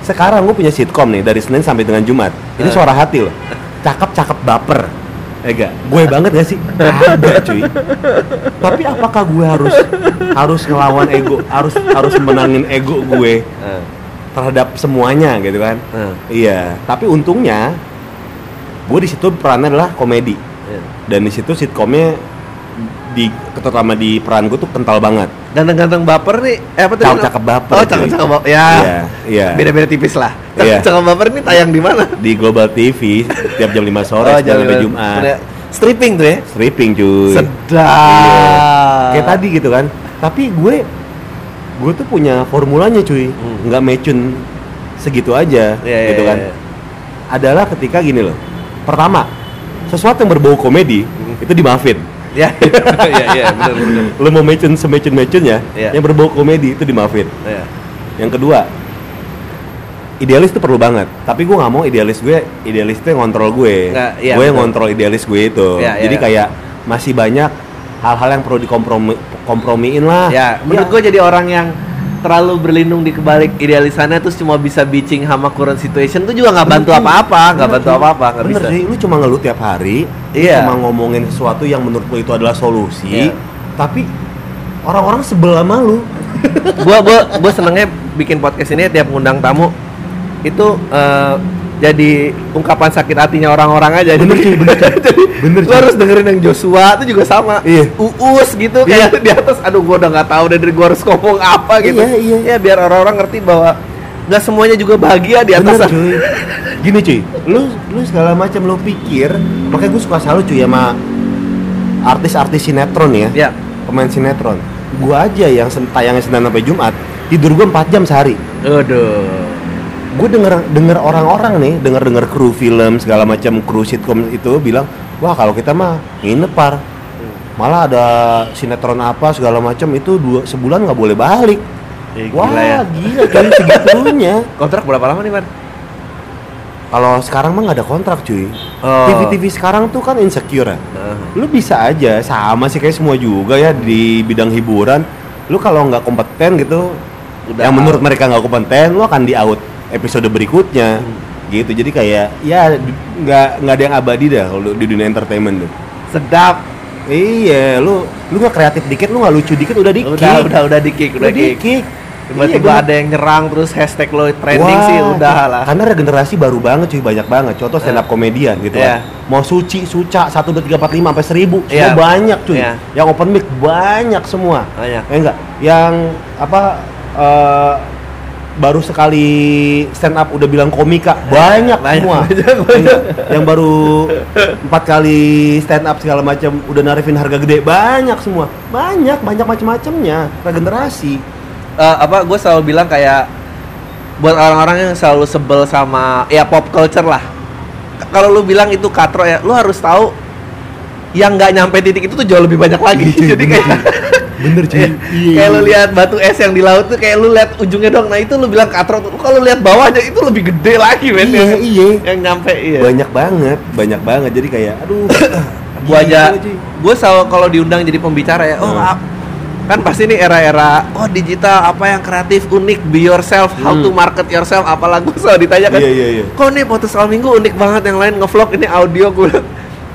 Speaker 2: sekarang gue punya sitkom nih dari Senin sampai dengan Jumat ini
Speaker 1: Eh.
Speaker 2: suara hati loh cakep cakep baper
Speaker 1: Ega.
Speaker 2: gue banget gak sih ada cuy tapi apakah gue harus harus ngelawan ego harus harus menangin ego gue
Speaker 1: Eh,
Speaker 2: terhadap semuanya gitu kan
Speaker 1: eh,
Speaker 2: iya tapi untungnya gue di situ perannya adalah komedi
Speaker 1: iya.
Speaker 2: dan di situ sitkomnya di terutama di peran gue tuh kental banget
Speaker 1: Ganteng-ganteng baper nih, eh apa tadi?
Speaker 2: Cakep cakep baper,
Speaker 1: Oh,
Speaker 2: cuy.
Speaker 1: cakep cakep baper. Ya.
Speaker 2: Iya, iya.
Speaker 1: Beda-beda tipis lah. Cakep
Speaker 2: Iya.
Speaker 1: cakep baper nih tayang di mana?
Speaker 2: di Global TV tiap jam 5 sore
Speaker 1: Oh,
Speaker 2: Senin sampai
Speaker 1: jangan-
Speaker 2: Jumat
Speaker 1: Ada- Stripping tuh ya.
Speaker 2: stripping cuy
Speaker 1: Sedap.
Speaker 2: Iya. kayak tadi gitu kan tapi gue gue tuh punya formulanya cuy
Speaker 1: Hmm.
Speaker 2: nggak mecun segitu aja
Speaker 1: Iya,
Speaker 2: gitu
Speaker 1: iya,
Speaker 2: kan
Speaker 1: iya.
Speaker 2: adalah ketika gini loh pertama sesuatu yang berbau komedi
Speaker 1: Hmm.
Speaker 2: itu dimaafin
Speaker 1: Ya. Iya, iya, benar benar.
Speaker 2: lo mau mecun semecun mecunnya
Speaker 1: Iya.
Speaker 2: yang berbau komedi itu dimaafin
Speaker 1: Iya.
Speaker 2: yang kedua idealis itu perlu banget tapi gue nggak mau idealis gue idealis itu yang ngontrol gue
Speaker 1: Nggak, iya,
Speaker 2: gue yang
Speaker 1: betul.
Speaker 2: ngontrol idealis gue itu
Speaker 1: Iya, iya,
Speaker 2: jadi
Speaker 1: iya.
Speaker 2: kayak masih banyak hal-hal yang perlu dikompromi kompromiin lah Iya.
Speaker 1: Ya, menurut gue jadi orang yang terlalu berlindung di kebalik idealisannya terus cuma bisa bitching sama current situation tuh juga nggak bantu apa-apa, nggak bantu apa-apa, nggak
Speaker 2: Iya. Bener
Speaker 1: bisa.
Speaker 2: sih, lu cuma ngeluh tiap hari, lu
Speaker 1: Iya.
Speaker 2: cuma ngomongin sesuatu yang menurut lu itu adalah solusi,
Speaker 1: Iya.
Speaker 2: tapi orang-orang sebel sama lu.
Speaker 1: Gua gua gua senengnya bikin podcast ini tiap ngundang tamu itu eh, jadi ungkapan sakit hatinya orang-orang aja.
Speaker 2: Bener
Speaker 1: Jadi-
Speaker 2: cuy, bener cuy. Bener
Speaker 1: Lu
Speaker 2: cuy.
Speaker 1: harus dengerin yang Joshua itu juga sama.
Speaker 2: Iya.
Speaker 1: Uus gitu kayak
Speaker 2: Iya.
Speaker 1: di atas aduh gua udah nggak tahu dari gua harus ngomong apa gitu.
Speaker 2: Iya, iya.
Speaker 1: Ya biar orang-orang ngerti bahwa nggak semuanya juga bahagia di atas.
Speaker 2: Bener cuy. Gini cuy, lu lu segala macam lu pikir, makanya gue suka selalu cuy sama artis-artis sinetron ya,
Speaker 1: Ya.
Speaker 2: pemain sinetron. Gua aja yang sen- tayangnya Senin sampai Jumat, tidur gua 4 jam sehari.
Speaker 1: Aduh.
Speaker 2: gue denger denger orang-orang nih denger denger kru film segala macam kru sitkom itu bilang wah kalau kita mah nginep par malah ada sinetron apa segala macam itu dua sebulan nggak boleh balik
Speaker 1: Eh,
Speaker 2: wah
Speaker 1: gila ya.
Speaker 2: gila kan segitunya
Speaker 1: Kontrak berapa lama nih, Mar?
Speaker 2: kalau sekarang mah nggak ada kontrak cuy
Speaker 1: Oh.
Speaker 2: tv tv sekarang tuh kan insecure ya lu bisa aja sama sih kayak semua juga ya di bidang hiburan lu kalau nggak kompeten gitu
Speaker 1: Udah
Speaker 2: yang
Speaker 1: out.
Speaker 2: menurut mereka nggak kompeten lu akan di out episode berikutnya gitu jadi kayak ya d- nggak nggak ada yang abadi dah kalau di dunia entertainment tuh
Speaker 1: Sedap.
Speaker 2: iya lu lu nggak kreatif dikit lu nggak lucu dikit udah dikit
Speaker 1: Udah,
Speaker 2: Iya,
Speaker 1: udah, udah dikik, udah dikik.
Speaker 2: dikik
Speaker 1: Tiba-tiba ada yang nyerang terus hashtag lo trending
Speaker 2: Wah,
Speaker 1: sih udah lah.
Speaker 2: Karena regenerasi baru banget cuy, banyak banget. Contoh stand up komedian gitu
Speaker 1: Iya.
Speaker 2: kan. Mau suci, suca 1 2 3 4 5 sampai 1000. Semua
Speaker 1: Iya.
Speaker 2: banyak cuy.
Speaker 1: Iya.
Speaker 2: Yang open mic banyak semua.
Speaker 1: Banyak.
Speaker 2: Eh, enggak, yang apa eh, baru sekali stand up udah bilang komika banyak,
Speaker 1: Iya, banyak,
Speaker 2: semua
Speaker 1: banyak,
Speaker 2: Eh, enggak, yang baru empat kali stand up segala macam udah narifin harga gede banyak semua banyak banyak macam-macamnya regenerasi
Speaker 1: Eh, apa gue selalu bilang kayak buat orang-orang yang selalu sebel sama ya pop culture lah. K- Kalau lu bilang itu katro ya, lu harus tahu yang nggak nyampe titik itu tuh jauh lebih banyak lagi. Jadi kayak
Speaker 2: bener cuy Iya.
Speaker 1: kayak lu lihat batu es yang di laut tuh kayak lu lihat ujungnya dong. Nah, itu lu bilang katro. tuh. Kalau lu lihat bawahnya itu lebih gede lagi, men.
Speaker 2: Iya,
Speaker 1: yang,
Speaker 2: iya.
Speaker 1: Yang nyampe iya.
Speaker 2: banyak banget banyak banget jadi kayak aduh
Speaker 1: gua
Speaker 2: gila
Speaker 1: aja
Speaker 2: cuy.
Speaker 1: gua selalu kalau diundang jadi pembicara ya oh
Speaker 2: Iya, Hmm.
Speaker 1: ap- kan pasti nih era-era oh digital apa yang kreatif unik be yourself how
Speaker 2: Hmm.
Speaker 1: to market yourself apalah gua selalu ditanya kan
Speaker 2: iya iya iya
Speaker 1: kok nih foto soal minggu unik banget yang lain ngevlog ini audio gua bilang,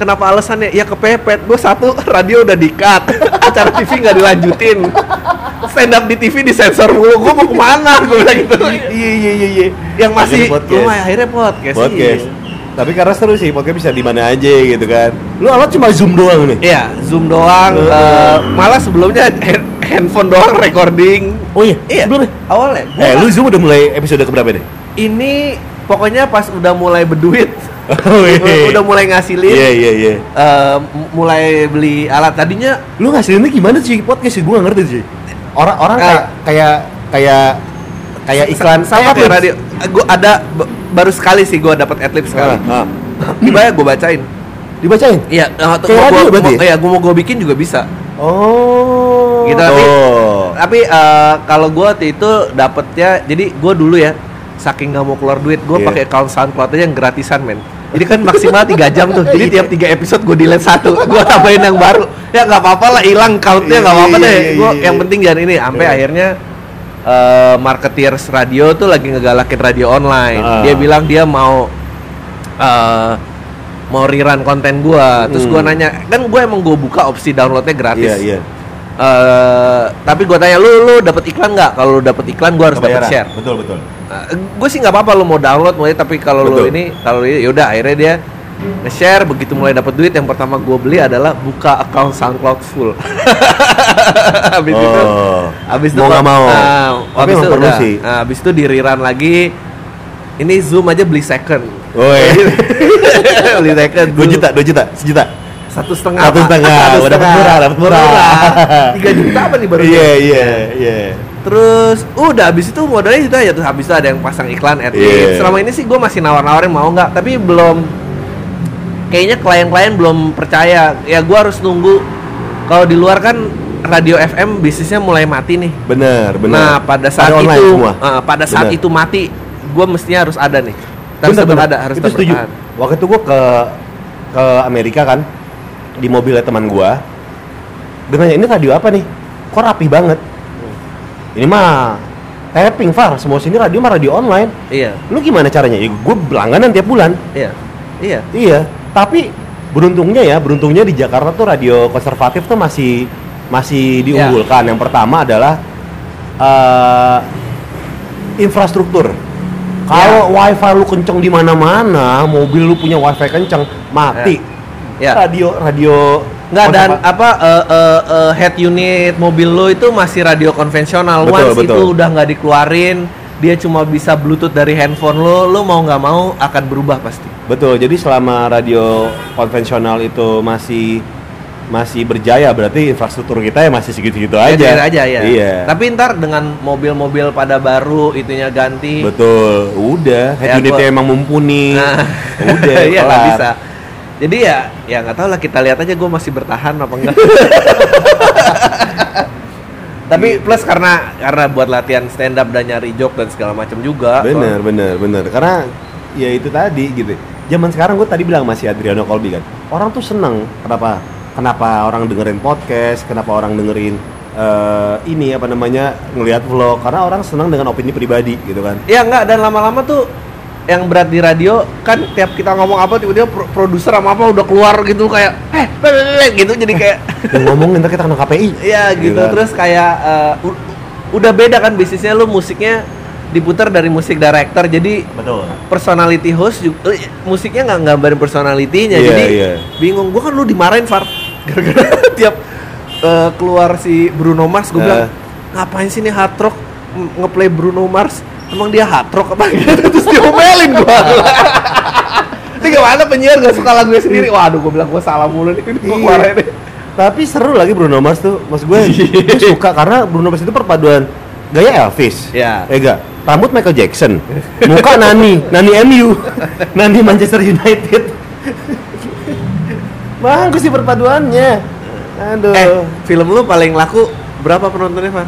Speaker 1: kenapa alasannya ya kepepet gua satu radio udah di-cut acara TV nggak dilanjutin stand up di TV disensor mulu gua mau kemana gua bilang gitu
Speaker 2: iya iya iya iya
Speaker 1: yang masih
Speaker 2: Akhirnya podcast.
Speaker 1: lumayan akhirnya podcast,
Speaker 2: podcast
Speaker 1: iya.
Speaker 2: tapi karena seru sih podcast bisa di mana aja gitu kan lu alat cuma zoom doang nih
Speaker 1: Iya, Zoom doang.
Speaker 2: Hmm.
Speaker 1: eh, malah sebelumnya hand- handphone doang recording.
Speaker 2: oh iya
Speaker 1: Iya,
Speaker 2: sebelumnya
Speaker 1: awalnya. gua kan
Speaker 2: eh lu zoom udah mulai episode keberapa nih
Speaker 1: Ini pokoknya pas udah mulai berduit,
Speaker 2: oh,
Speaker 1: udah mulai ngasilin,
Speaker 2: iya iya iya
Speaker 1: eh, m- mulai beli alat. Tadinya
Speaker 2: lu ngasilinnya gimana sih podcast sih gua nggak ngerti sih orang orang
Speaker 1: Kayak-
Speaker 2: kayak kayak kayak kayak iklan
Speaker 1: sama
Speaker 2: kayak
Speaker 1: tuh
Speaker 2: apa?
Speaker 1: radio. Gue ada b- baru sekali sih gue dapat adlib sekali.
Speaker 2: Ah, ah.
Speaker 1: Tiba gue bacain.
Speaker 2: dibacain
Speaker 1: Iya, nah,
Speaker 2: Kayak radio
Speaker 1: gue
Speaker 2: berarti ya?
Speaker 1: ya gue mau gue bikin juga bisa.
Speaker 2: oh
Speaker 1: Gitu, tapi- Tapi eh, kalau gue waktu itu dapetnya, jadi gue dulu ya saking nggak mau keluar duit, gue
Speaker 2: Iya.
Speaker 1: pakai account SoundCloud aja yang gratisan men. Jadi kan maksimal 3 jam tuh.
Speaker 2: Iya.
Speaker 1: Jadi tiap 3 episode gue delete satu, gue tambahin yang baru. Ya nggak apa-apa lah, hilang countnya nggak apa-apa
Speaker 2: Iya,
Speaker 1: deh.
Speaker 2: iya,
Speaker 1: Gua,
Speaker 2: iya,
Speaker 1: yang
Speaker 2: iya.
Speaker 1: penting jangan ini. Sampai
Speaker 2: Iya.
Speaker 1: akhirnya eh, marketeers radio tuh lagi ngegalakin radio online.
Speaker 2: Ah.
Speaker 1: Dia bilang dia mau eh, mau rerun konten gua terus
Speaker 2: Hmm.
Speaker 1: gua nanya kan gua emang gua buka opsi downloadnya gratis
Speaker 2: Iya, iya.
Speaker 1: Eh, tapi gua tanya lu lu dapat iklan nggak kalau lu dapat iklan gua harus dapat
Speaker 2: Kebayaran.
Speaker 1: share
Speaker 2: Betul, betul.
Speaker 1: gue sih nggak apa-apa lo mau download mulai tapi kalau lo
Speaker 2: Betul.
Speaker 1: ini kalau ini yaudah akhirnya dia nge-share begitu mulai dapat duit yang pertama gue beli adalah buka account SoundCloud full habis itu
Speaker 2: Oh.
Speaker 1: habis itu
Speaker 2: Mau nggak mau.
Speaker 1: Ah,
Speaker 2: Tapi
Speaker 1: habis
Speaker 2: emang
Speaker 1: itu
Speaker 2: perlu
Speaker 1: udah.
Speaker 2: sih.
Speaker 1: Ah, habis itu di rerun lagi ini zoom aja beli second
Speaker 2: Woi.
Speaker 1: iya. beli second
Speaker 2: 2
Speaker 1: Zoom.
Speaker 2: juta, 2 juta, sejuta.
Speaker 1: satu setengah
Speaker 2: Satu
Speaker 1: Pak.
Speaker 2: setengah,
Speaker 1: Satu
Speaker 2: udah dapat
Speaker 1: setengah.
Speaker 2: murah, dapat murah.
Speaker 1: tiga juta apa nih baru
Speaker 2: Iya, iya, iya.
Speaker 1: Terus udah habis itu modalnya itu aja terus habis itu ada yang pasang iklan ad
Speaker 2: Iya.
Speaker 1: Selama ini sih gue masih nawar-nawarin mau nggak, tapi belum kayaknya klien-klien belum percaya. Ya gue harus nunggu kalau di luar kan radio FM bisnisnya mulai mati nih.
Speaker 2: Benar, benar.
Speaker 1: Nah, pada saat
Speaker 2: Ada online
Speaker 1: itu
Speaker 2: semua.
Speaker 1: eh, pada saat
Speaker 2: Benar.
Speaker 1: itu mati, gue mestinya harus ada nih. Harus
Speaker 2: Bener,
Speaker 1: tetap
Speaker 2: bener.
Speaker 1: ada, harus
Speaker 2: itu
Speaker 1: tetap
Speaker 2: setuju.
Speaker 1: bertahan.
Speaker 2: Waktu itu gue ke ke Amerika kan di mobilnya teman gue. Dia nanya ini radio apa nih? Kok rapi banget? Ini mah tapping far. Semua sini radio mah radio online.
Speaker 1: Iya,
Speaker 2: Lu gimana caranya? Ya, gue langganan tiap bulan.
Speaker 1: iya, iya.
Speaker 2: Iya. Tapi beruntungnya ya, beruntungnya di Jakarta tuh radio konservatif tuh masih
Speaker 1: Iya.
Speaker 2: masih diunggulkan. Yang pertama adalah eh, infrastruktur. Kalau
Speaker 1: Iya.
Speaker 2: wifi lu kenceng di mana-mana, mobil lu punya wifi kenceng, mati.
Speaker 1: Ya.
Speaker 2: Radio radio
Speaker 1: Nggak dan
Speaker 2: konserva-
Speaker 1: apa eh, eh, eh, head unit mobil lo itu masih radio konvensional.
Speaker 2: Betul,
Speaker 1: Once
Speaker 2: betul.
Speaker 1: itu udah nggak dikeluarin, dia cuma bisa bluetooth dari handphone lo, lo mau nggak mau akan berubah pasti.
Speaker 2: Betul. Jadi selama radio konvensional itu masih masih berjaya, berarti infrastruktur kita ya masih segitu-segitu aja.
Speaker 1: Jadi aja ya.
Speaker 2: Iya.
Speaker 1: Tapi ntar dengan mobil-mobil pada baru itunya ganti.
Speaker 2: Betul, udah.
Speaker 1: Ya,
Speaker 2: Head unitnya
Speaker 1: gua-
Speaker 2: emang mumpuni.
Speaker 1: Nah,
Speaker 2: Udah,
Speaker 1: iya nggak
Speaker 2: kelar.
Speaker 1: bisa. Jadi ya, ya nggak tahu lah kita lihat aja gue masih bertahan apa enggak. Tapi plus karena karena buat latihan stand up dan nyari joke dan segala macam juga.
Speaker 2: Bener, bener, bener. Karena ya itu tadi gitu. Zaman sekarang gue tadi bilang masih Adriano Colby kan. Orang tuh seneng. Kenapa? Kenapa orang dengerin podcast? Kenapa orang dengerin eh, ini apa namanya ngelihat vlog? Karena orang seneng dengan opini pribadi gitu kan.
Speaker 1: Ya enggak dan lama-lama tuh yang berat di radio kan tiap kita ngomong apa tiba-tiba pro- produser sama apa udah keluar gitu kayak eh lelelele," gitu jadi kayak
Speaker 2: Dan ngomong ntar kita kena KPI.
Speaker 1: ya gitu
Speaker 2: Gila.
Speaker 1: terus kayak eh, u- udah beda kan bisnisnya lu musiknya diputar dari musik director jadi
Speaker 2: Betul.
Speaker 1: personality host juga eh, musiknya nggak nggambarin personalitinya
Speaker 2: Iya,
Speaker 1: jadi
Speaker 2: iya.
Speaker 1: bingung gua kan lu dimarahin Far gara-gara tiap eh, keluar si Bruno Mars gua bilang
Speaker 2: Eh.
Speaker 1: ngapain sih nih hard rock ng- ngeplay Bruno Mars emang dia hard rock apa gitu terus diomelin gua ini gimana penyiar gak suka lagu sendiri waduh gua bilang gua salah mulu nih ini gua
Speaker 2: Iya.
Speaker 1: keluarin nih
Speaker 2: Tapi seru lagi Bruno Mars tuh. Mas gue gue suka karena Bruno Mars itu perpaduan gaya Elvis.
Speaker 1: Iya.
Speaker 2: Eh enggak, rambut Michael Jackson. Muka Nani, Nani MU. Nani Manchester United. Bagus sih perpaduannya. Aduh.
Speaker 1: eh film lu paling laku berapa penontonnya Far?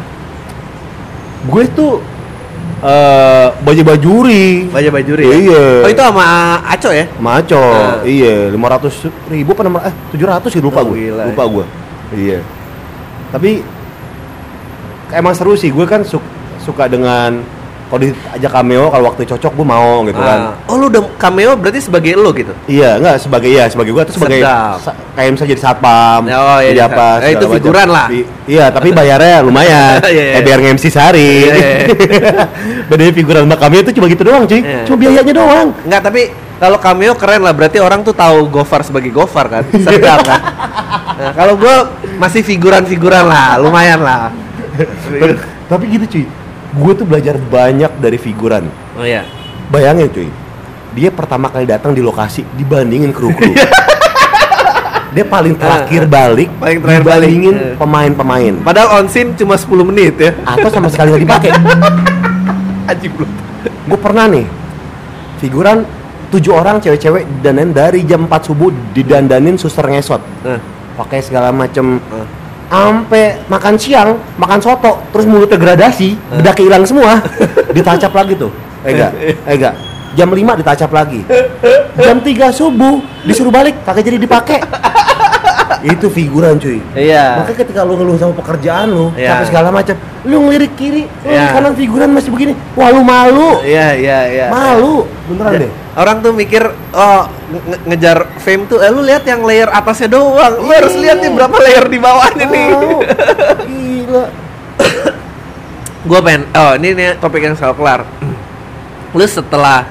Speaker 2: gue tuh eh baju bajuri.
Speaker 1: Baja Bajuri ya?
Speaker 2: Iya.
Speaker 1: oh itu sama Aco ya?
Speaker 2: Maco,
Speaker 1: Nah.
Speaker 2: iya, lima ratus ribu apa enam eh tujuh ratus gitu lupa
Speaker 1: Oh,
Speaker 2: gue,
Speaker 1: gila,
Speaker 2: lupa gue, iya. Tapi emang seru sih, gue kan su- suka dengan kalau diajak cameo kalau waktu cocok gue mau gitu kan.
Speaker 1: Ah. oh lu udah cameo berarti sebagai lo gitu?
Speaker 2: Iya, enggak sebagai ya sebagai gue atau sebagai
Speaker 1: Sedap.
Speaker 2: sa- kayak misalnya jadi satpam,
Speaker 1: Oh, iya,
Speaker 2: jadi
Speaker 1: jadi
Speaker 2: apa?
Speaker 1: sat- eh, itu
Speaker 2: segala macam.
Speaker 1: figuran lah.
Speaker 2: I- iya, tapi bayarnya lumayan.
Speaker 1: Iya, iya.
Speaker 2: Kayak biar nge-MC sehari.
Speaker 1: Iya, iya,
Speaker 2: Bedanya figuran sama cameo itu cuma gitu doang, cuy.
Speaker 1: Iya.
Speaker 2: Cuma biayanya doang.
Speaker 1: Enggak, tapi kalau cameo keren lah, berarti orang tuh tahu Gofar sebagai Gofar kan, sedap kan. Nah, kalau gue masih figuran-figuran lah, lumayan lah. Iya.
Speaker 2: Tapi- tapi gitu cuy gue tuh belajar banyak dari figuran
Speaker 1: Oh iya.
Speaker 2: bayangin cuy dia pertama kali datang di lokasi dibandingin kru kru
Speaker 1: Iya.
Speaker 2: dia paling terakhir balik
Speaker 1: Eh, Paling terakhir balik.
Speaker 2: dibandingin
Speaker 1: Eh.
Speaker 2: pemain-pemain
Speaker 1: Padahal on scene cuma 10 menit ya.
Speaker 2: atau sama sekali nggak dipakai
Speaker 1: Anjing belum.
Speaker 2: gue pernah nih figuran tujuh orang cewek-cewek dan dari jam 4 subuh didandanin suster ngesot
Speaker 1: Nah,
Speaker 2: pakai segala macem
Speaker 1: nah.
Speaker 2: ampe makan siang makan soto terus mulutnya gradasi bedaknya hilang semua ditacap lagi tuh eh enggak eh enggak jam 5 ditacap lagi jam 3 subuh disuruh balik kagak jadi dipakai itu figuran cuy
Speaker 1: Iya.
Speaker 2: makanya ketika lu ngeluh sama pekerjaan lu
Speaker 1: Iya.
Speaker 2: capek segala macam lu ngelirik kiri "Hmm, lu
Speaker 1: Iya.
Speaker 2: ngelirik kanan figuran masih begini wah lu malu
Speaker 1: Iya, iya, iya.
Speaker 2: malu beneran deh
Speaker 1: orang tuh mikir oh nge- nge- ngejar fame tuh eh, lu lihat yang layer atasnya doang. Lu harus lihat nih berapa layer di bawahnya nih.
Speaker 2: Wow, Gila.
Speaker 1: Gua pengen oh ini nih topik yang selalu kelar. Lu setelah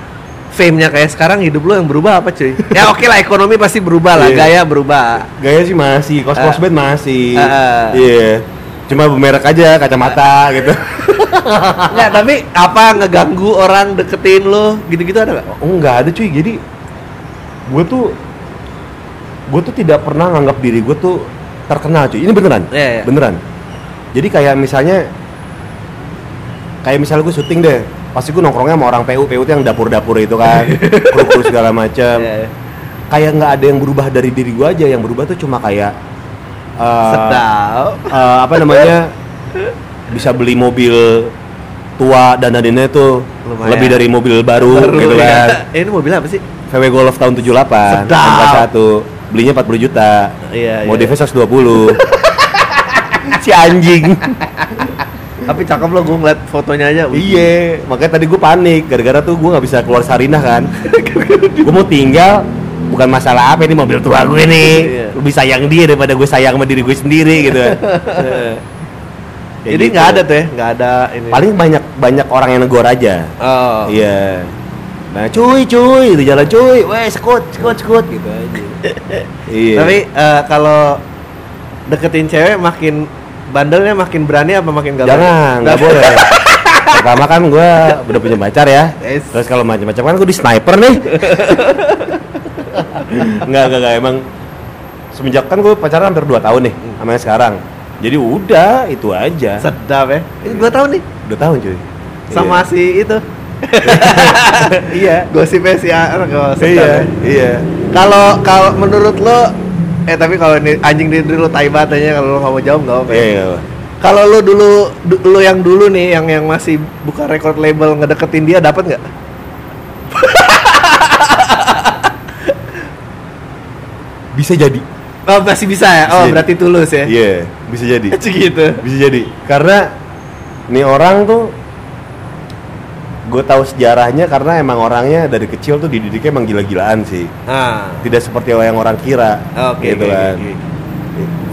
Speaker 1: fame-nya kayak sekarang hidup lu yang berubah apa cuy? ya oke lah ekonomi pasti berubah lah,
Speaker 2: Iya.
Speaker 1: gaya berubah.
Speaker 2: Gaya sih masih,
Speaker 1: Ah.
Speaker 2: kos-kos band masih.
Speaker 1: Ah.
Speaker 2: Iya. Cuma bermerek aja kacamata gitu.
Speaker 1: Enggak, tapi apa ngeganggu orang deketin lu gitu-gitu ada nggak?
Speaker 2: Oh, nggak ada cuy jadi gue tuh gue tuh tidak pernah nganggap diri gue tuh terkenal cuy ini beneran
Speaker 1: Iya, iya.
Speaker 2: beneran jadi kayak misalnya kayak misalnya gue syuting deh pasti gue nongkrongnya sama orang PU PU tuh yang dapur dapur itu kan kru kru segala macam
Speaker 1: Iya, iya.
Speaker 2: kayak nggak ada yang berubah dari diri gue aja yang berubah tuh cuma kayak eh,
Speaker 1: Sedap.
Speaker 2: eh, apa namanya bisa beli mobil tua dan dananya tuh
Speaker 1: Lumayan.
Speaker 2: lebih dari mobil baru,
Speaker 1: Baru,
Speaker 2: gitu
Speaker 1: ya.
Speaker 2: kan
Speaker 1: Eh, ini mobil apa sih?
Speaker 2: VW Golf tahun 78
Speaker 1: Sedap.
Speaker 2: MK1 Belinya 40 juta
Speaker 1: Iya, iya.
Speaker 2: Modifnya 120 Si anjing
Speaker 1: Tapi cakep lo gue ngeliat fotonya aja. Wih,
Speaker 2: Iya Makanya tadi gue panik Gara-gara tuh gue gak bisa keluar Sarinah kan Gue mau tinggal Bukan masalah apa ini mobil tua gue nih
Speaker 1: Iya.
Speaker 2: Lebih sayang dia daripada gue sayang sama diri gue sendiri gitu Ya
Speaker 1: Jadi
Speaker 2: gitu.
Speaker 1: nggak ada tuh ya, nggak ada ini.
Speaker 2: Paling banyak banyak orang yang negor aja
Speaker 1: Oh.
Speaker 2: Iya. Nah, cuy, cuy, di jalan cuy, weh, sekut, sekut, sekut gitu aja. iya.
Speaker 1: Tapi eh, kalau deketin cewek makin bandelnya makin berani apa makin gak
Speaker 2: jangan, nggak boleh. Pertama kan gue udah punya pacar ya.
Speaker 1: Yes.
Speaker 2: Terus kalau macam-macam kan gue di sniper nih. Enggak, enggak, enggak emang semenjak kan gue pacaran hampir 2 tahun nih sama yang sekarang. Jadi udah itu aja.
Speaker 1: Sedap ya. Eh, gue tahu nih
Speaker 2: 2 tahun cuy. Iya.
Speaker 1: sama si itu. iya, gosipnya si Aaron kalau
Speaker 2: iya. Iya. iya.
Speaker 1: ya. Kalau kalau menurut lo eh tapi kalau ini anjing diri lo tai banget tanya kalau lo nggak mau jawab nggak apa-apa. ya.
Speaker 2: Iya, iya.
Speaker 1: Kalau lo dulu du- lo yang dulu nih yang yang masih buka record label ngedeketin dia dapat nggak?
Speaker 2: Bisa jadi.
Speaker 1: Oh masih bisa ya? Oh
Speaker 2: Bisa.
Speaker 1: berarti tulus ya?
Speaker 2: Iya, bisa jadi.
Speaker 1: Segitu.
Speaker 2: bisa jadi karena nih orang tuh gue tahu sejarahnya karena emang orangnya dari kecil tuh dididiknya emang gila-gilaan sih
Speaker 1: Ah.
Speaker 2: tidak seperti yang orang kira
Speaker 1: Oke.
Speaker 2: gitu
Speaker 1: oke,
Speaker 2: kan
Speaker 1: oke.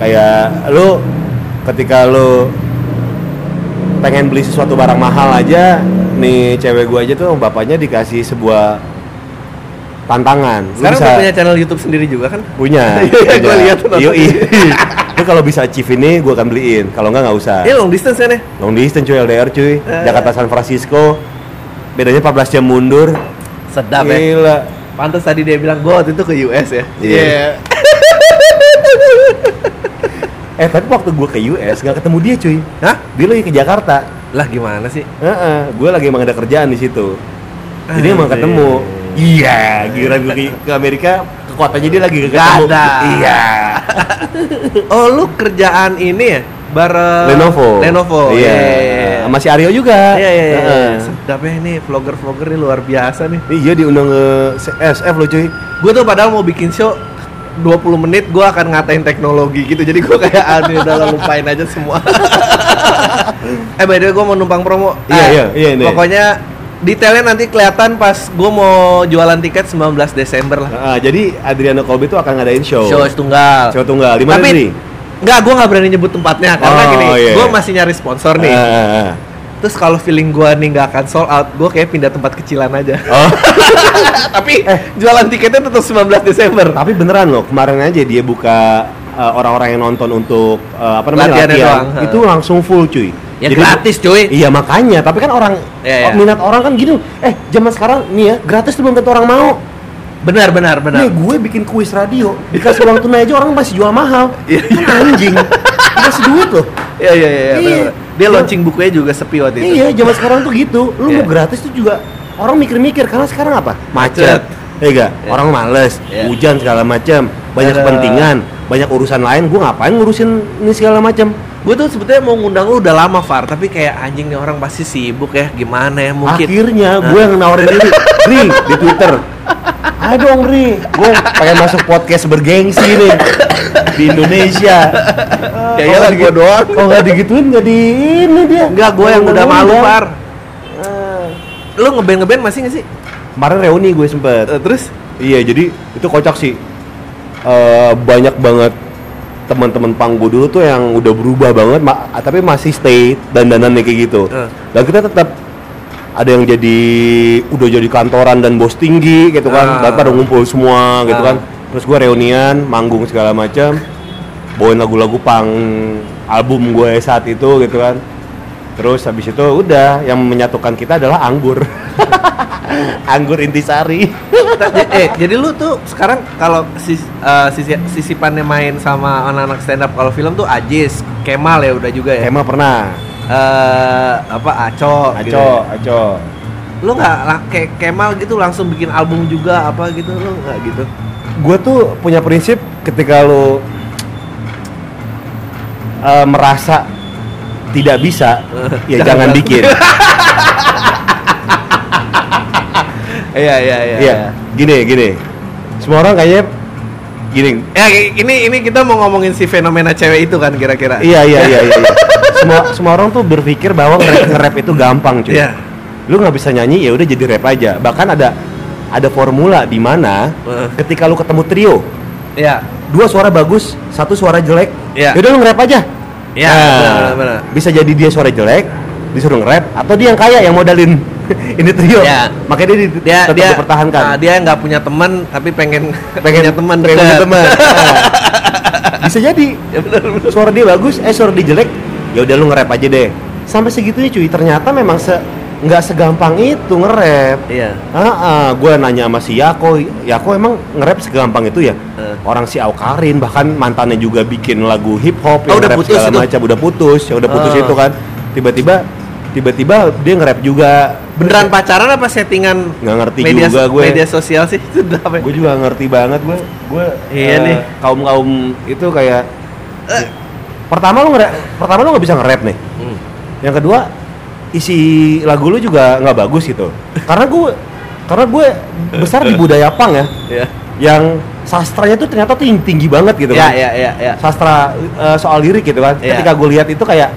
Speaker 2: kayak lu ketika lu pengen beli sesuatu barang mahal aja nih cewek gue aja tuh sama bapaknya dikasih sebuah tantangan Lu
Speaker 1: Sekarang
Speaker 2: bisa-
Speaker 1: udah punya channel YouTube sendiri juga kan?
Speaker 2: punya
Speaker 1: Iya,
Speaker 2: punya.
Speaker 1: gua lihat tuh
Speaker 2: Yoi.
Speaker 1: nontonnya.
Speaker 2: lu kalau bisa achieve ini gue akan beliin kalau enggak nggak usah
Speaker 1: Iya long distance kan ya?
Speaker 2: Long distance cuy LDR
Speaker 1: Eh.
Speaker 2: cuy Jakarta San Francisco Bedanya 14 jam mundur
Speaker 1: Sedap ya.
Speaker 2: Gila
Speaker 1: Pantas tadi dia bilang gue waktu itu ke US ya.
Speaker 2: Iya. Eh tapi waktu gue ke US gak ketemu dia cuy
Speaker 1: Hah?
Speaker 2: Dia lagi ke Jakarta
Speaker 1: Lah gimana sih?
Speaker 2: Heeh, Gue lagi emang ada kerjaan di situ Jadi emang
Speaker 1: Anjir.
Speaker 2: ketemu Iya Gila gue ke, ke Amerika Ke kotanya dia lagi ketemu
Speaker 1: Gak ada.
Speaker 2: Iya
Speaker 1: Oh lu kerjaan ini ya? Bareng
Speaker 2: Eh, Lenovo
Speaker 1: Lenovo.
Speaker 2: Iya Sama si Aryo juga
Speaker 1: Iya iya iya.
Speaker 2: Heeh.
Speaker 1: Sedap ya ini vlogger-vlogger ini luar biasa nih.
Speaker 2: Iya diundang ke SF loh cuy
Speaker 1: Gue tuh padahal mau bikin show 20 menit gue akan ngatain teknologi gitu jadi gue kayak aduh udah lah, lupain aja semua eh by the way gue mau numpang promo
Speaker 2: Iya,
Speaker 1: Eh,
Speaker 2: iya, iya, iya.
Speaker 1: pokoknya detailnya nanti kelihatan pas gue mau jualan tiket 19 Desember lah
Speaker 2: Heeh, Jadi Adriano Kolbe Ah, tuh akan ngadain show
Speaker 1: show tunggal
Speaker 2: Show tunggal Di mana
Speaker 1: tapi
Speaker 2: nih?
Speaker 1: nggak gue nggak berani nyebut tempatnya karena
Speaker 2: Oh,
Speaker 1: gini
Speaker 2: iya.
Speaker 1: gue masih nyari sponsor nih
Speaker 2: Ah, ah, ah.
Speaker 1: terus kalau feeling gue nih nggak akan sold out gue kayak pindah tempat kecilan aja
Speaker 2: Oh, Eh.
Speaker 1: tapi jualan tiketnya tetap 19 Desember
Speaker 2: tapi beneran loh kemarin aja dia buka uh, orang-orang yang nonton untuk uh, apa namanya
Speaker 1: Latihannya
Speaker 2: latihan
Speaker 1: doang, ha.
Speaker 2: itu langsung full cuy.
Speaker 1: ya gratis cuy
Speaker 2: Iya makanya, tapi kan orang
Speaker 1: Iya, iya.
Speaker 2: minat orang kan gitu. Eh zaman sekarang nih ya gratis tuh belum tentu orang mau.
Speaker 1: benar benar benar
Speaker 2: Nih gue bikin kuis radio dikasih uang tunai aja orang masih jual mahal. kan anjing, masih duit loh.
Speaker 1: Iya iya iya.
Speaker 2: Iya.
Speaker 1: benar-benar. Dia launching bukunya juga sepi waktu itu.
Speaker 2: Iya zaman sekarang tuh gitu. Lu
Speaker 1: Iya.
Speaker 2: mau gratis tuh juga orang mikir-mikir karena sekarang apa?
Speaker 1: Macet. Iya.
Speaker 2: Iya nggak? Orang males,
Speaker 1: Iya.
Speaker 2: hujan segala macam, banyak
Speaker 1: Ada-
Speaker 2: kepentingan, banyak urusan lain. Gua ngapain ngurusin ini segala macam?
Speaker 1: Gue tuh sebetulnya mau ngundang lu udah lama Far, tapi kayak anjing nih orang pasti sibuk ya. Gimana ya mungkin.
Speaker 2: Akhirnya gue yang nawarin diri, Ri di Twitter. Ayo dong Ri, gue pengen masuk podcast bergengsi nih di Indonesia.
Speaker 1: Ya iyalah, gua doang.
Speaker 2: Kalau nggak digituin nggak di ini dia.
Speaker 1: Enggak, gue yang udah malu
Speaker 2: Undang-undang.
Speaker 1: Far.
Speaker 2: Eh,
Speaker 1: Lu ngeband ngeband masih gak sih?
Speaker 2: Kemarin reuni gue sempet.
Speaker 1: Eh, terus
Speaker 2: Iya, jadi itu kocak sih. Eh, banyak banget teman-teman panggu dulu tuh yang udah berubah banget, ma- ah, tapi masih stay dandanannya kayak gitu.
Speaker 1: Eh.
Speaker 2: Dan kita tetap ada yang jadi udah jadi kantoran dan bos tinggi gitu kan,
Speaker 1: Ah.
Speaker 2: dan pada ngumpul semua gitu
Speaker 1: Ah.
Speaker 2: kan. Terus gue reunian, manggung segala macam, bawain lagu-lagu pang album gue saat itu gitu kan. Terus habis itu udah yang menyatukan kita adalah anggur. anggur intisari.
Speaker 1: ta- j- eh jadi lu tuh sekarang kalau sis, eh, sisi- sisipannya main sama anak-anak stand up kalau film tuh Ajis, Kemal ya udah juga ya.
Speaker 2: Emang pernah?
Speaker 1: Eh, apa Aco, gitu
Speaker 2: Aco,
Speaker 1: ya.
Speaker 2: Aco.
Speaker 1: Lu nggak la- kayak Kemal gitu langsung bikin album juga apa gitu lu nggak gitu.
Speaker 2: Gue tuh punya prinsip ketika lo eh, merasa tidak bisa, ya
Speaker 1: Jangan.
Speaker 2: jangan bikin.
Speaker 1: Iya iya iya.
Speaker 2: Iya, gini gini. Semua orang kayaknya gini.
Speaker 1: Ya ini ini kita mau ngomongin si fenomena cewek itu kan kira-kira.
Speaker 2: Iya iya iya iya. iya. semua semua orang tuh berpikir bahwa nge- nge-rap itu gampang cuy.
Speaker 1: Iya.
Speaker 2: Lu nggak bisa nyanyi ya udah jadi rap aja. Bahkan ada ada formula di mana
Speaker 1: Eh.
Speaker 2: ketika lu ketemu trio,
Speaker 1: Iya.
Speaker 2: dua suara bagus, satu suara jelek.
Speaker 1: Iya.
Speaker 2: Yaudah lu nge-rap aja.
Speaker 1: Iya, benar, benar.
Speaker 2: Nah, Bisa jadi dia suara jelek, disuruh nge-rap atau dia yang kaya yang modalin. Ini trio.
Speaker 1: Iya.
Speaker 2: Makanya dia, di-
Speaker 1: Dia
Speaker 2: tetap
Speaker 1: dia
Speaker 2: dipertahankan.
Speaker 1: ah, dia nggak punya teman tapi pengen
Speaker 2: Pengen
Speaker 1: punya teman
Speaker 2: pengen punya
Speaker 1: dekat.
Speaker 2: teman. Nah, Bisa jadi
Speaker 1: Ya benar benar.
Speaker 2: suara dia bagus, eh suara dia jelek, ya udah lu nge-rap aja deh. Sampai segitunya cuy, ternyata memang se nggak segampang itu nge-rap.
Speaker 1: Iya.
Speaker 2: Ah, gue nanya sama si Yako, Yako emang nge-rap segampang itu ya?
Speaker 1: Eh.
Speaker 2: Orang si Aukarin bahkan mantannya juga bikin lagu hip hop,
Speaker 1: Oh,
Speaker 2: yang
Speaker 1: udah
Speaker 2: nge-rap
Speaker 1: putus
Speaker 2: segala
Speaker 1: itu?
Speaker 2: macam, udah putus, ya udah putus
Speaker 1: Ah.
Speaker 2: itu kan. Tiba-tiba, tiba-tiba dia nge-rap juga.
Speaker 1: Beneran pacaran apa settingan?
Speaker 2: Nggak Iya. ngerti
Speaker 1: media,
Speaker 2: juga gue.
Speaker 1: Media sosial sih itu apa? ya?
Speaker 2: Gue juga ngerti banget gue, gue
Speaker 1: Iya nih. Eh.
Speaker 2: kaum kaum itu kayak. Pertama lu nge pertama lu nggak bisa nge-rap nih.
Speaker 1: Hmm.
Speaker 2: Yang kedua isi lagu lu juga nggak bagus gitu. Karena gue karena gue besar di budaya pang ya.
Speaker 1: Iya.
Speaker 2: yang sastranya tuh ternyata tuh yang tinggi banget gitu
Speaker 1: Iya,
Speaker 2: kan.
Speaker 1: iya, iya, iya.
Speaker 2: Sastra eh, soal lirik gitu kan.
Speaker 1: Iya.
Speaker 2: Ketika gue lihat itu kayak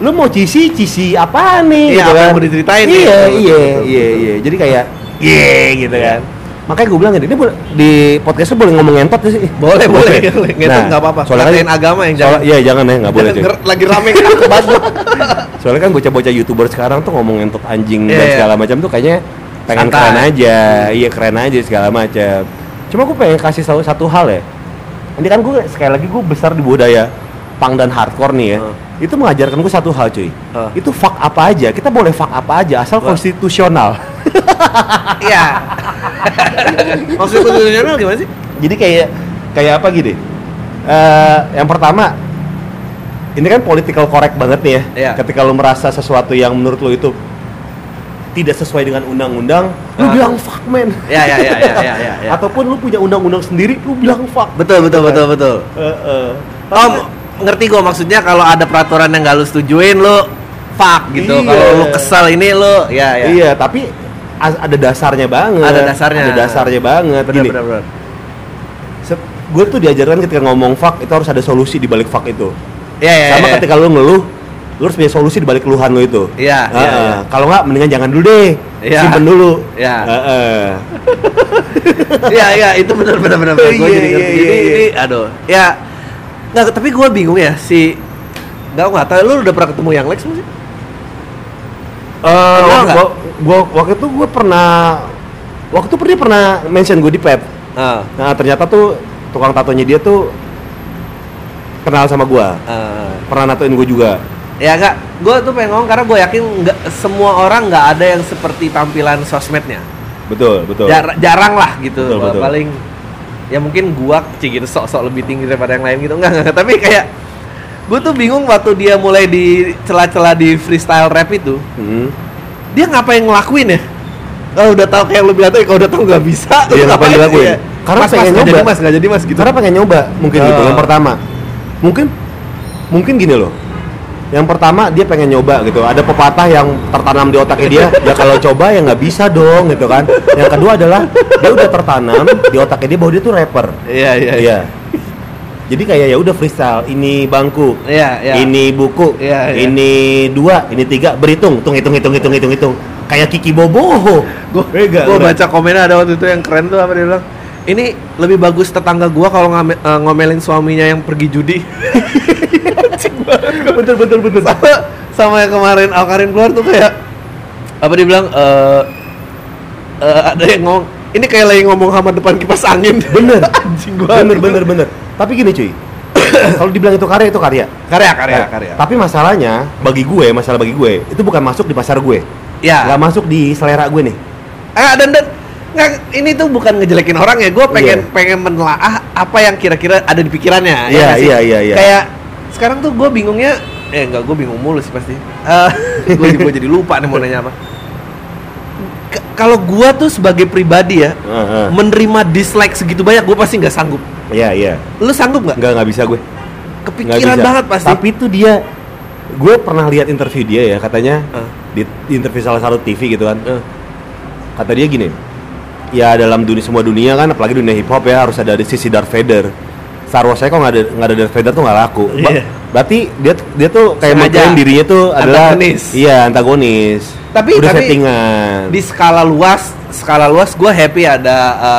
Speaker 2: lu mau cisi cisi apa
Speaker 1: Iya,
Speaker 2: nih gitu
Speaker 1: apa
Speaker 2: kan.
Speaker 1: yang mau diceritain nih? Betul,
Speaker 2: Iya, iya,
Speaker 1: betul,
Speaker 2: iya,
Speaker 1: betul.
Speaker 2: iya. Jadi kayak iya gitu
Speaker 1: Iya.
Speaker 2: kan. Makanya gue bilang gini, ini boleh- di podcastnya boleh ngomong ngentot nggak sih.
Speaker 1: Boleh, boleh, boleh. Ngentot
Speaker 2: Nah,
Speaker 1: nggak apa-apa.
Speaker 2: Soalnya
Speaker 1: Katain agama yang
Speaker 2: jangan.
Speaker 1: jangan.
Speaker 2: Iya, jangan ya, nggak boleh.
Speaker 1: Jangan
Speaker 2: cuy.
Speaker 1: ger- lagi rame kan bahas lu.
Speaker 2: Soalnya kan bocah-bocah youtuber sekarang tuh ngomong ngentot anjing
Speaker 1: Iya,
Speaker 2: dan
Speaker 1: iya.
Speaker 2: segala macam tuh kayaknya pengen
Speaker 1: Santai.
Speaker 2: keren aja, iya keren aja segala macam. Cuma gue pengen kasih tahu satu hal ya. Ini kan gue sekali lagi gue besar di budaya pang dan hardcore nih ya.
Speaker 1: Hmm.
Speaker 2: Itu mengajarkan gue satu hal cuy.
Speaker 1: Hmm.
Speaker 2: Itu fuck apa aja, kita boleh fuck apa aja asal
Speaker 1: Wah.
Speaker 2: konstitusional.
Speaker 1: Iya. Maksud konstitusional gimana sih?
Speaker 2: Jadi kayak kayak apa gini? Eh, yang pertama ini kan political correct banget nih ya.
Speaker 1: Iya.
Speaker 2: Ketika lu merasa sesuatu yang menurut lu itu tidak sesuai dengan undang-undang, lu
Speaker 1: Ah.
Speaker 2: bilang fuck man.
Speaker 1: Iya, iya, iya, iya, iya, iya, iya.
Speaker 2: Ataupun lu punya undang-undang sendiri, lu bilang fuck.
Speaker 1: Betul, betul, betul, betul.
Speaker 2: Eh, eh.
Speaker 1: Oh, m- ngerti gua maksudnya kalau ada peraturan yang nggak lu setujuin lu fuck gitu.
Speaker 2: Iya.
Speaker 1: Kalau lu kesal ini lu ya ya.
Speaker 2: Iya, tapi as- ada dasarnya banget.
Speaker 1: Ada dasarnya.
Speaker 2: Ada dasarnya banget.
Speaker 1: Benar,
Speaker 2: Gini,
Speaker 1: benar, benar.
Speaker 2: gue tuh diajarkan ketika ngomong fuck itu harus ada solusi di balik fuck itu.
Speaker 1: Iya, iya,
Speaker 2: sama
Speaker 1: iya.
Speaker 2: ketika lu ngeluh lu harus punya solusi di balik keluhan lu itu
Speaker 1: Iya,
Speaker 2: Heeh.
Speaker 1: iya, iya.
Speaker 2: kalau nggak mendingan jangan dulu deh
Speaker 1: Iya.
Speaker 2: simpen dulu
Speaker 1: Iya.
Speaker 2: Heeh.
Speaker 1: Iya iya itu benar benar benar. Gue
Speaker 2: Iya,
Speaker 1: jadi
Speaker 2: iya,
Speaker 1: ngerti.
Speaker 2: iya,
Speaker 1: Jadi
Speaker 2: iya.
Speaker 1: ini aduh. Ya nggak tapi gue bingung ya si nggak nggak tahu lu udah pernah ketemu yang Lex belum sih?
Speaker 2: Eh,
Speaker 1: Kenal nggak?
Speaker 2: gua, gua, waktu itu gue pernah waktu itu dia pernah mention gue di pep
Speaker 1: Ah.
Speaker 2: nah ternyata tuh tukang tatonya dia tuh kenal sama gue
Speaker 1: ah.
Speaker 2: pernah natoin gue juga
Speaker 1: Ya nggak. Gue tuh pengen ngomong karena gue yakin nggak semua orang nggak ada yang seperti tampilan sosmednya.
Speaker 2: betul betul
Speaker 1: Jar- jarang lah gitu.
Speaker 2: Betul, betul.
Speaker 1: Paling ya mungkin gua kecil gitu sok-sok lebih tinggi daripada yang lain gitu enggak enggak tapi kayak gue tuh bingung waktu dia mulai di celah-celah di freestyle rap itu
Speaker 2: Hmm.
Speaker 1: dia ngapain ngelakuin ya? Kalau udah tahu kayak lu bilang tadi kalau udah tahu nggak bisa, lu
Speaker 2: Iya, ngapain dilakuin?
Speaker 1: Iya.
Speaker 2: Karena
Speaker 1: mas, mas,
Speaker 2: pengen
Speaker 1: nggak jadi
Speaker 2: nyoba.
Speaker 1: mas, nggak jadi mas gitu.
Speaker 2: Karena pengen nyoba mungkin gitu.
Speaker 1: Ah.
Speaker 2: Yang pertama, mungkin mungkin gini loh. Yang pertama dia pengen nyoba gitu. Ada pepatah yang tertanam di otaknya dia. ya kalau coba ya nggak bisa dong gitu kan. Yang kedua adalah dia udah tertanam di otaknya dia bahwa dia tuh rapper.
Speaker 1: Iya, iya, iya.
Speaker 2: Iya. Jadi kayak ya udah freestyle. Ini bangku.
Speaker 1: Iya, iya.
Speaker 2: Ini buku.
Speaker 1: Iya, iya.
Speaker 2: Ini dua. Ini tiga. Berhitung. Tung hitung hitung hitung hitung hitung.
Speaker 3: kayak Kiki Boboho.
Speaker 1: Gue
Speaker 2: Vega,
Speaker 1: gua
Speaker 2: udah.
Speaker 1: baca komennya ada waktu itu yang keren tuh apa dia bilang ini lebih bagus tetangga gua kalau ngame- eh, ngomelin suaminya yang pergi judi
Speaker 2: bener bener bener
Speaker 1: sama sama yang kemarin Alkarin keluar tuh kayak apa dia bilang eh eh, ada yang ngomong ini kayak lagi ngomong sama depan kipas angin
Speaker 2: Bener.
Speaker 1: anjing gua
Speaker 2: bener bener bener tapi gini cuy kalau dibilang itu karya itu karya
Speaker 1: karya karya
Speaker 2: Nah,
Speaker 1: karya
Speaker 2: tapi masalahnya bagi gue masalah bagi gue Ah. itu bukan masuk di pasar gue
Speaker 1: ya
Speaker 2: nggak masuk di selera gue nih
Speaker 1: Ah, dan dan nggak, ini tuh bukan ngejelekin orang ya. Gue pengen
Speaker 2: Iya.
Speaker 1: pengen menelaah apa yang kira-kira ada di pikirannya. ya
Speaker 2: Iya,
Speaker 1: nggak sih?
Speaker 2: iya, iya, iya.
Speaker 1: Kayak sekarang tuh gue bingungnya, eh nggak gue bingung mulu sih pasti. gue gue jadi lupa nih mau nanya apa. K- Kalau gue tuh sebagai pribadi ya
Speaker 2: Heeh.
Speaker 1: menerima dislike segitu banyak gue pasti nggak sanggup.
Speaker 2: iya iya
Speaker 1: Lu sanggup nggak?
Speaker 2: nggak nggak bisa gue Nggak
Speaker 1: Kepikiran
Speaker 2: bisa.
Speaker 1: banget pasti.
Speaker 2: Tapi itu dia gue pernah lihat interview dia ya katanya
Speaker 1: Ah.
Speaker 2: di di interview salah satu TV gitu kan.
Speaker 1: Eh.
Speaker 2: Kata dia gini. Ya dalam dunia semua dunia kan apalagi dunia hip hop ya harus ada di sisi Darth Vader. Star Wars saya kok nggak ada nggak ada Darth Vader tuh nggak laku. Ba-
Speaker 1: Iya.
Speaker 2: Berarti dia dia tuh kayak
Speaker 1: Sengaja.
Speaker 2: mengklaim dirinya tuh adalah
Speaker 1: Antagonis.
Speaker 2: Iya, antagonis.
Speaker 1: Tapi-
Speaker 2: udah
Speaker 1: tapi-
Speaker 2: settingan.
Speaker 1: di skala luas skala luas gue happy ada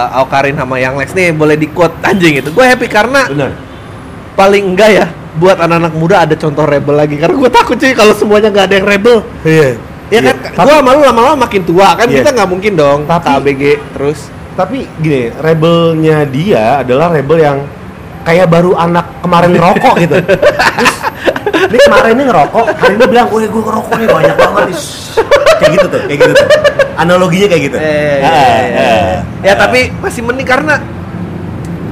Speaker 1: eh, Aukarin sama Yang Lex nih boleh di quote anjing itu gue happy karena
Speaker 2: Benar.
Speaker 1: paling enggak ya buat anak-anak muda ada contoh rebel lagi karena gue takut cuy kalau semuanya nggak ada yang rebel
Speaker 2: Iya.
Speaker 1: ya kan gue sama lu lama-lama makin tua kan
Speaker 2: Iya.
Speaker 1: kita nggak mungkin dong
Speaker 2: Tapi-
Speaker 1: KBG terus
Speaker 2: Tapi gini, rebelnya dia adalah rebel yang kayak baru anak kemarin ngerokok gitu. Terus, ini kemarin ini ngerokok, hari ini bilang, weh gue ngerokok nih banyak banget nih." Kayak gitu tuh, kayak gitu tuh. Analoginya kayak gitu.
Speaker 1: Eh, iya,
Speaker 2: Ah, ah.
Speaker 1: ya tapi masih mending karena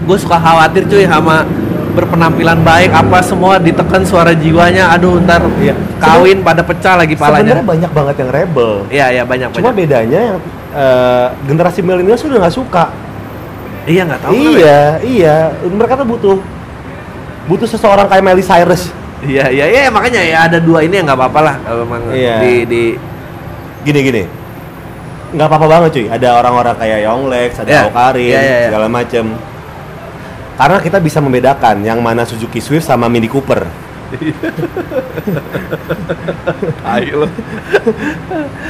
Speaker 1: gue suka khawatir cuy sama berpenampilan baik apa semua ditekan suara jiwanya aduh ntar
Speaker 2: Iya.
Speaker 1: kawin pada pecah lagi
Speaker 2: Sebenarnya
Speaker 1: palanya
Speaker 2: banyak banget yang rebel.
Speaker 1: iya iya banyak
Speaker 2: Cuma
Speaker 1: banyak
Speaker 2: bedanya yang eh, generasi milenial sudah nggak suka.
Speaker 1: iya nggak tahu kenapa ya.
Speaker 2: iya, iya. Mereka tuh butuh butuh seseorang kayak Miley Cyrus.
Speaker 1: iya iya iya makanya ya ada dua ini yang nggak apa-apa lah kalau memang
Speaker 2: Iya.
Speaker 1: di di
Speaker 2: gini gini nggak apa-apa banget cuy ada orang-orang kayak Yonglex ada
Speaker 1: Ya.
Speaker 2: Okarin
Speaker 1: Ya, ya, ya.
Speaker 2: segala macem karena kita bisa membedakan yang mana Suzuki Swift sama Mini Cooper
Speaker 1: ayo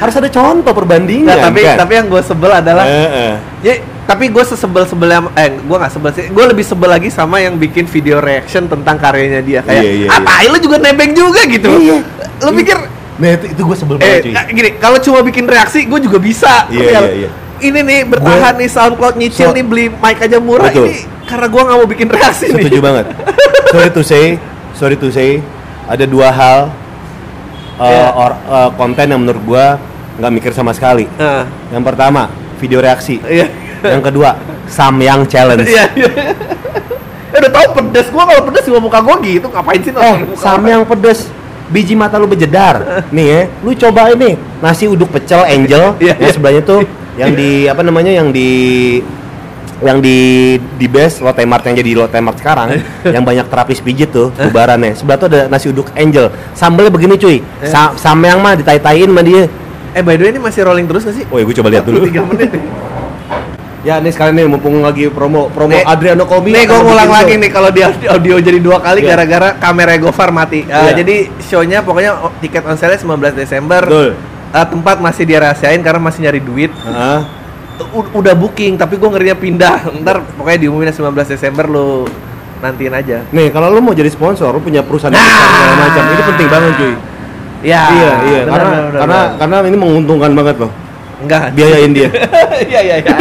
Speaker 2: harus ada contoh perbandingan
Speaker 1: Nggak, tapi
Speaker 2: kan
Speaker 1: tapi yang gue sebel adalah
Speaker 2: Eh, eh.
Speaker 1: ya, tapi gue sesebel sebelnya eh gue nggak sebel sih gue lebih sebel lagi sama yang bikin video reaction tentang karyanya dia kayak
Speaker 2: Iya, iya, iya.
Speaker 1: apa lu juga nebeng juga gitu
Speaker 2: Iya.
Speaker 1: lu pikir
Speaker 2: nah itu, itu gue sebel
Speaker 1: eh
Speaker 2: banget cuy
Speaker 1: gini kalau cuma bikin reaksi gue juga bisa
Speaker 2: Iya,
Speaker 1: Tapi
Speaker 2: iya,
Speaker 1: kalau-
Speaker 2: iya.
Speaker 1: ini nih bertahan nih SoundCloud nyicil
Speaker 2: So-
Speaker 1: nih beli mic aja murah
Speaker 2: Betul.
Speaker 1: ini karena gue nggak mau bikin reaksi
Speaker 2: setuju
Speaker 1: nih
Speaker 2: banget sorry to say sorry to say ada dua hal eh,
Speaker 1: Iya.
Speaker 2: or- eh, konten yang menurut gua nggak mikir sama sekali
Speaker 1: Nah,
Speaker 2: yang pertama video reaksi
Speaker 1: iya
Speaker 2: yang kedua Samyang Challenge
Speaker 1: iya iya Ya udah tau pedes, gue kalau pedes juga muka gue gitu, ngapain sih
Speaker 2: Eh,
Speaker 1: nonton muka
Speaker 2: sama
Speaker 1: orang?
Speaker 2: yang pedes biji mata lu bejedar nih ya lu coba ini nasi uduk pecel angel
Speaker 1: Iya,
Speaker 2: yang
Speaker 1: iya.
Speaker 2: sebelahnya tuh yang di apa namanya yang di yang di di base Lotte Mart yang jadi Lotte Mart sekarang yang banyak terapis pijit tuh bubarannya sebelah tuh ada nasi uduk angel sambelnya begini cuy Sa sama yang mah ditai-taiin sama dia
Speaker 1: Eh by the way ini masih rolling terus gak sih?
Speaker 2: Woi, gue coba lihat dulu.
Speaker 1: 3 menit nih
Speaker 2: Ya, nih sekalian nih mumpung lagi promo promo
Speaker 1: Nih,
Speaker 2: Adriano Komi.
Speaker 1: Nih
Speaker 2: akan
Speaker 1: gue ngulang
Speaker 2: bikin
Speaker 1: lagi
Speaker 2: show.
Speaker 1: nih kalau di audi- audio jadi dua kali
Speaker 2: Iya.
Speaker 1: gara-gara kamera Gofar mati. Eh,
Speaker 2: Iya.
Speaker 1: Jadi shownya pokoknya o- tiket on sale 19 Desember.
Speaker 2: Betul.
Speaker 1: Eh, tempat masih dirahasiain karena masih nyari duit.
Speaker 2: Heeh.
Speaker 1: U- udah booking tapi gue ngerinya pindah. Ntar pokoknya diumumin 19 Desember lu nantiin aja.
Speaker 2: Nih, kalau lu mau jadi sponsor, lu punya perusahaan yang besar segala macam. Ini penting banget, cuy.
Speaker 1: Ya.
Speaker 2: iya, iya.
Speaker 1: Nah. benar, benar,
Speaker 2: karena
Speaker 1: benar,
Speaker 2: karena
Speaker 1: benar.
Speaker 2: karena ini menguntungkan banget loh.
Speaker 1: enggak.
Speaker 2: Biayain dia.
Speaker 1: Iya iya iya. iya.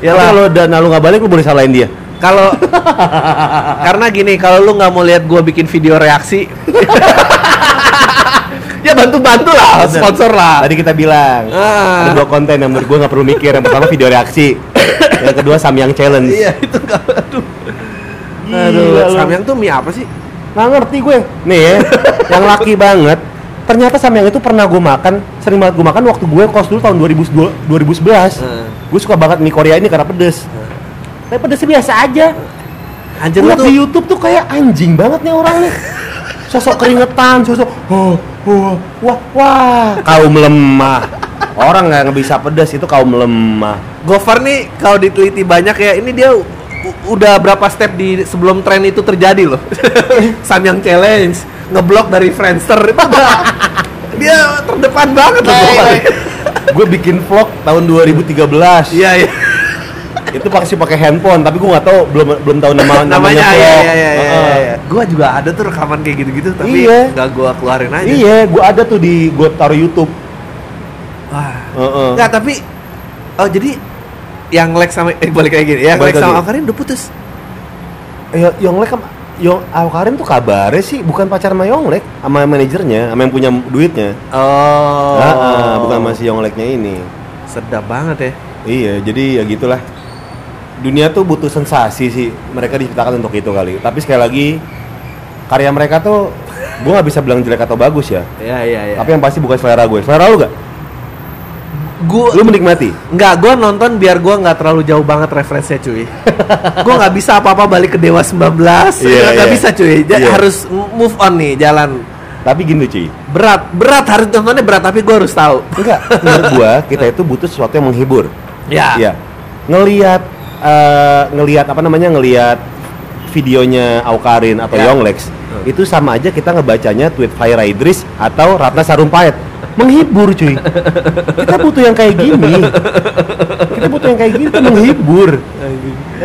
Speaker 2: Ya
Speaker 1: Iyalah.
Speaker 2: kalau dana lu nggak balik lu boleh salahin dia.
Speaker 1: Kalau karena gini, kalau lu nggak mau lihat gua bikin video reaksi, ya bantu-bantu lah,
Speaker 2: Bener.
Speaker 1: sponsor lah.
Speaker 2: Tadi kita bilang
Speaker 1: Ah.
Speaker 2: ada dua konten yang menurut gua nggak perlu mikir. Yang pertama video reaksi, yang kedua samyang challenge.
Speaker 1: Iya itu nggak. Aduh.
Speaker 2: Gila
Speaker 1: Aduh,
Speaker 2: lu.
Speaker 1: Samyang tuh mie apa sih?
Speaker 2: Nggak ngerti gue. Nih ya, yang laki banget. Ternyata samyang itu pernah gue makan, sering banget gue makan waktu gue kos dulu tahun 2000, 2011.
Speaker 1: Hmm.
Speaker 2: Gue suka banget mie Korea ini karena pedes.
Speaker 1: Ah.
Speaker 2: Tapi pedesnya biasa aja.
Speaker 1: Eh, Anjir lu
Speaker 2: Gue
Speaker 1: tuh.
Speaker 2: di YouTube tuh kayak anjing banget nih orang nih. Sosok keringetan, sosok oh, oh, wah, wah, kaum lemah. Orang nggak bisa pedas itu kaum lemah.
Speaker 1: Gofar nih kalau diteliti banyak ya, ini dia u- udah berapa step di sebelum tren itu terjadi loh. Samyang challenge, ngeblok dari Friendster. dia terdepan banget loh. Gofar.
Speaker 2: gue bikin vlog tahun 2013
Speaker 1: Iya iya.
Speaker 2: itu pasti pakai handphone tapi gue nggak tahu belum belum tahu nama
Speaker 1: Namanya iya
Speaker 2: vlog.
Speaker 1: iya iya. iya,
Speaker 2: Oh, Heeh.
Speaker 1: iya. Gua juga ada tuh rekaman kayak gitu-gitu tapi
Speaker 2: Iya.
Speaker 1: nggak gua keluarin aja.
Speaker 2: Iya, gue ada tuh di gue taruh YouTube.
Speaker 1: Wah.
Speaker 2: Heeh.
Speaker 1: Nggak, tapi oh jadi yang Lex sama eh balik lagi nih. Yang
Speaker 2: Balik
Speaker 1: Lex sama
Speaker 2: lagi.
Speaker 1: Alkarin udah putus.
Speaker 2: Ya, Yonglek sama- Yong Alkarin tuh kabarnya sih bukan pacar sama Yonglek, sama manajernya, sama yang punya duitnya.
Speaker 1: Oh.
Speaker 2: Ah, ah, bukan sama si Yongleknya ini.
Speaker 1: Sedap banget ya.
Speaker 2: Iya, jadi ya gitulah. Dunia tuh butuh sensasi sih. Mereka diciptakan untuk itu kali. Tapi sekali lagi karya mereka tuh gue nggak bisa bilang jelek atau bagus ya.
Speaker 1: Iya iya iya.
Speaker 2: Tapi yang pasti bukan selera gue. Selera lu gak?
Speaker 1: gua
Speaker 2: Lu menikmati?
Speaker 1: Nggak, gue nonton biar gue nggak terlalu jauh banget referensinya cuy Gue nggak bisa apa-apa balik ke Dewa 19
Speaker 2: Iya,
Speaker 1: Nggak
Speaker 2: iya.
Speaker 1: bisa cuy, Ja-
Speaker 2: Iya.
Speaker 1: harus move on nih jalan
Speaker 2: Tapi gini cuy.
Speaker 1: Berat, berat harus nontonnya berat tapi gue harus tahu
Speaker 2: Enggak, menurut gua kita itu butuh sesuatu yang menghibur.
Speaker 1: Ya,
Speaker 2: Iya. Ngelihat eh, ngelihat apa namanya? ngelihat videonya Aukarin atau
Speaker 1: Ya.
Speaker 2: Yonglex. Itu sama aja kita ngebacanya tweet Faira Idris atau Ratna Sarumpait. Menghibur cuy. Kita butuh yang kayak gini. Kita butuh yang kayak gini tuh menghibur.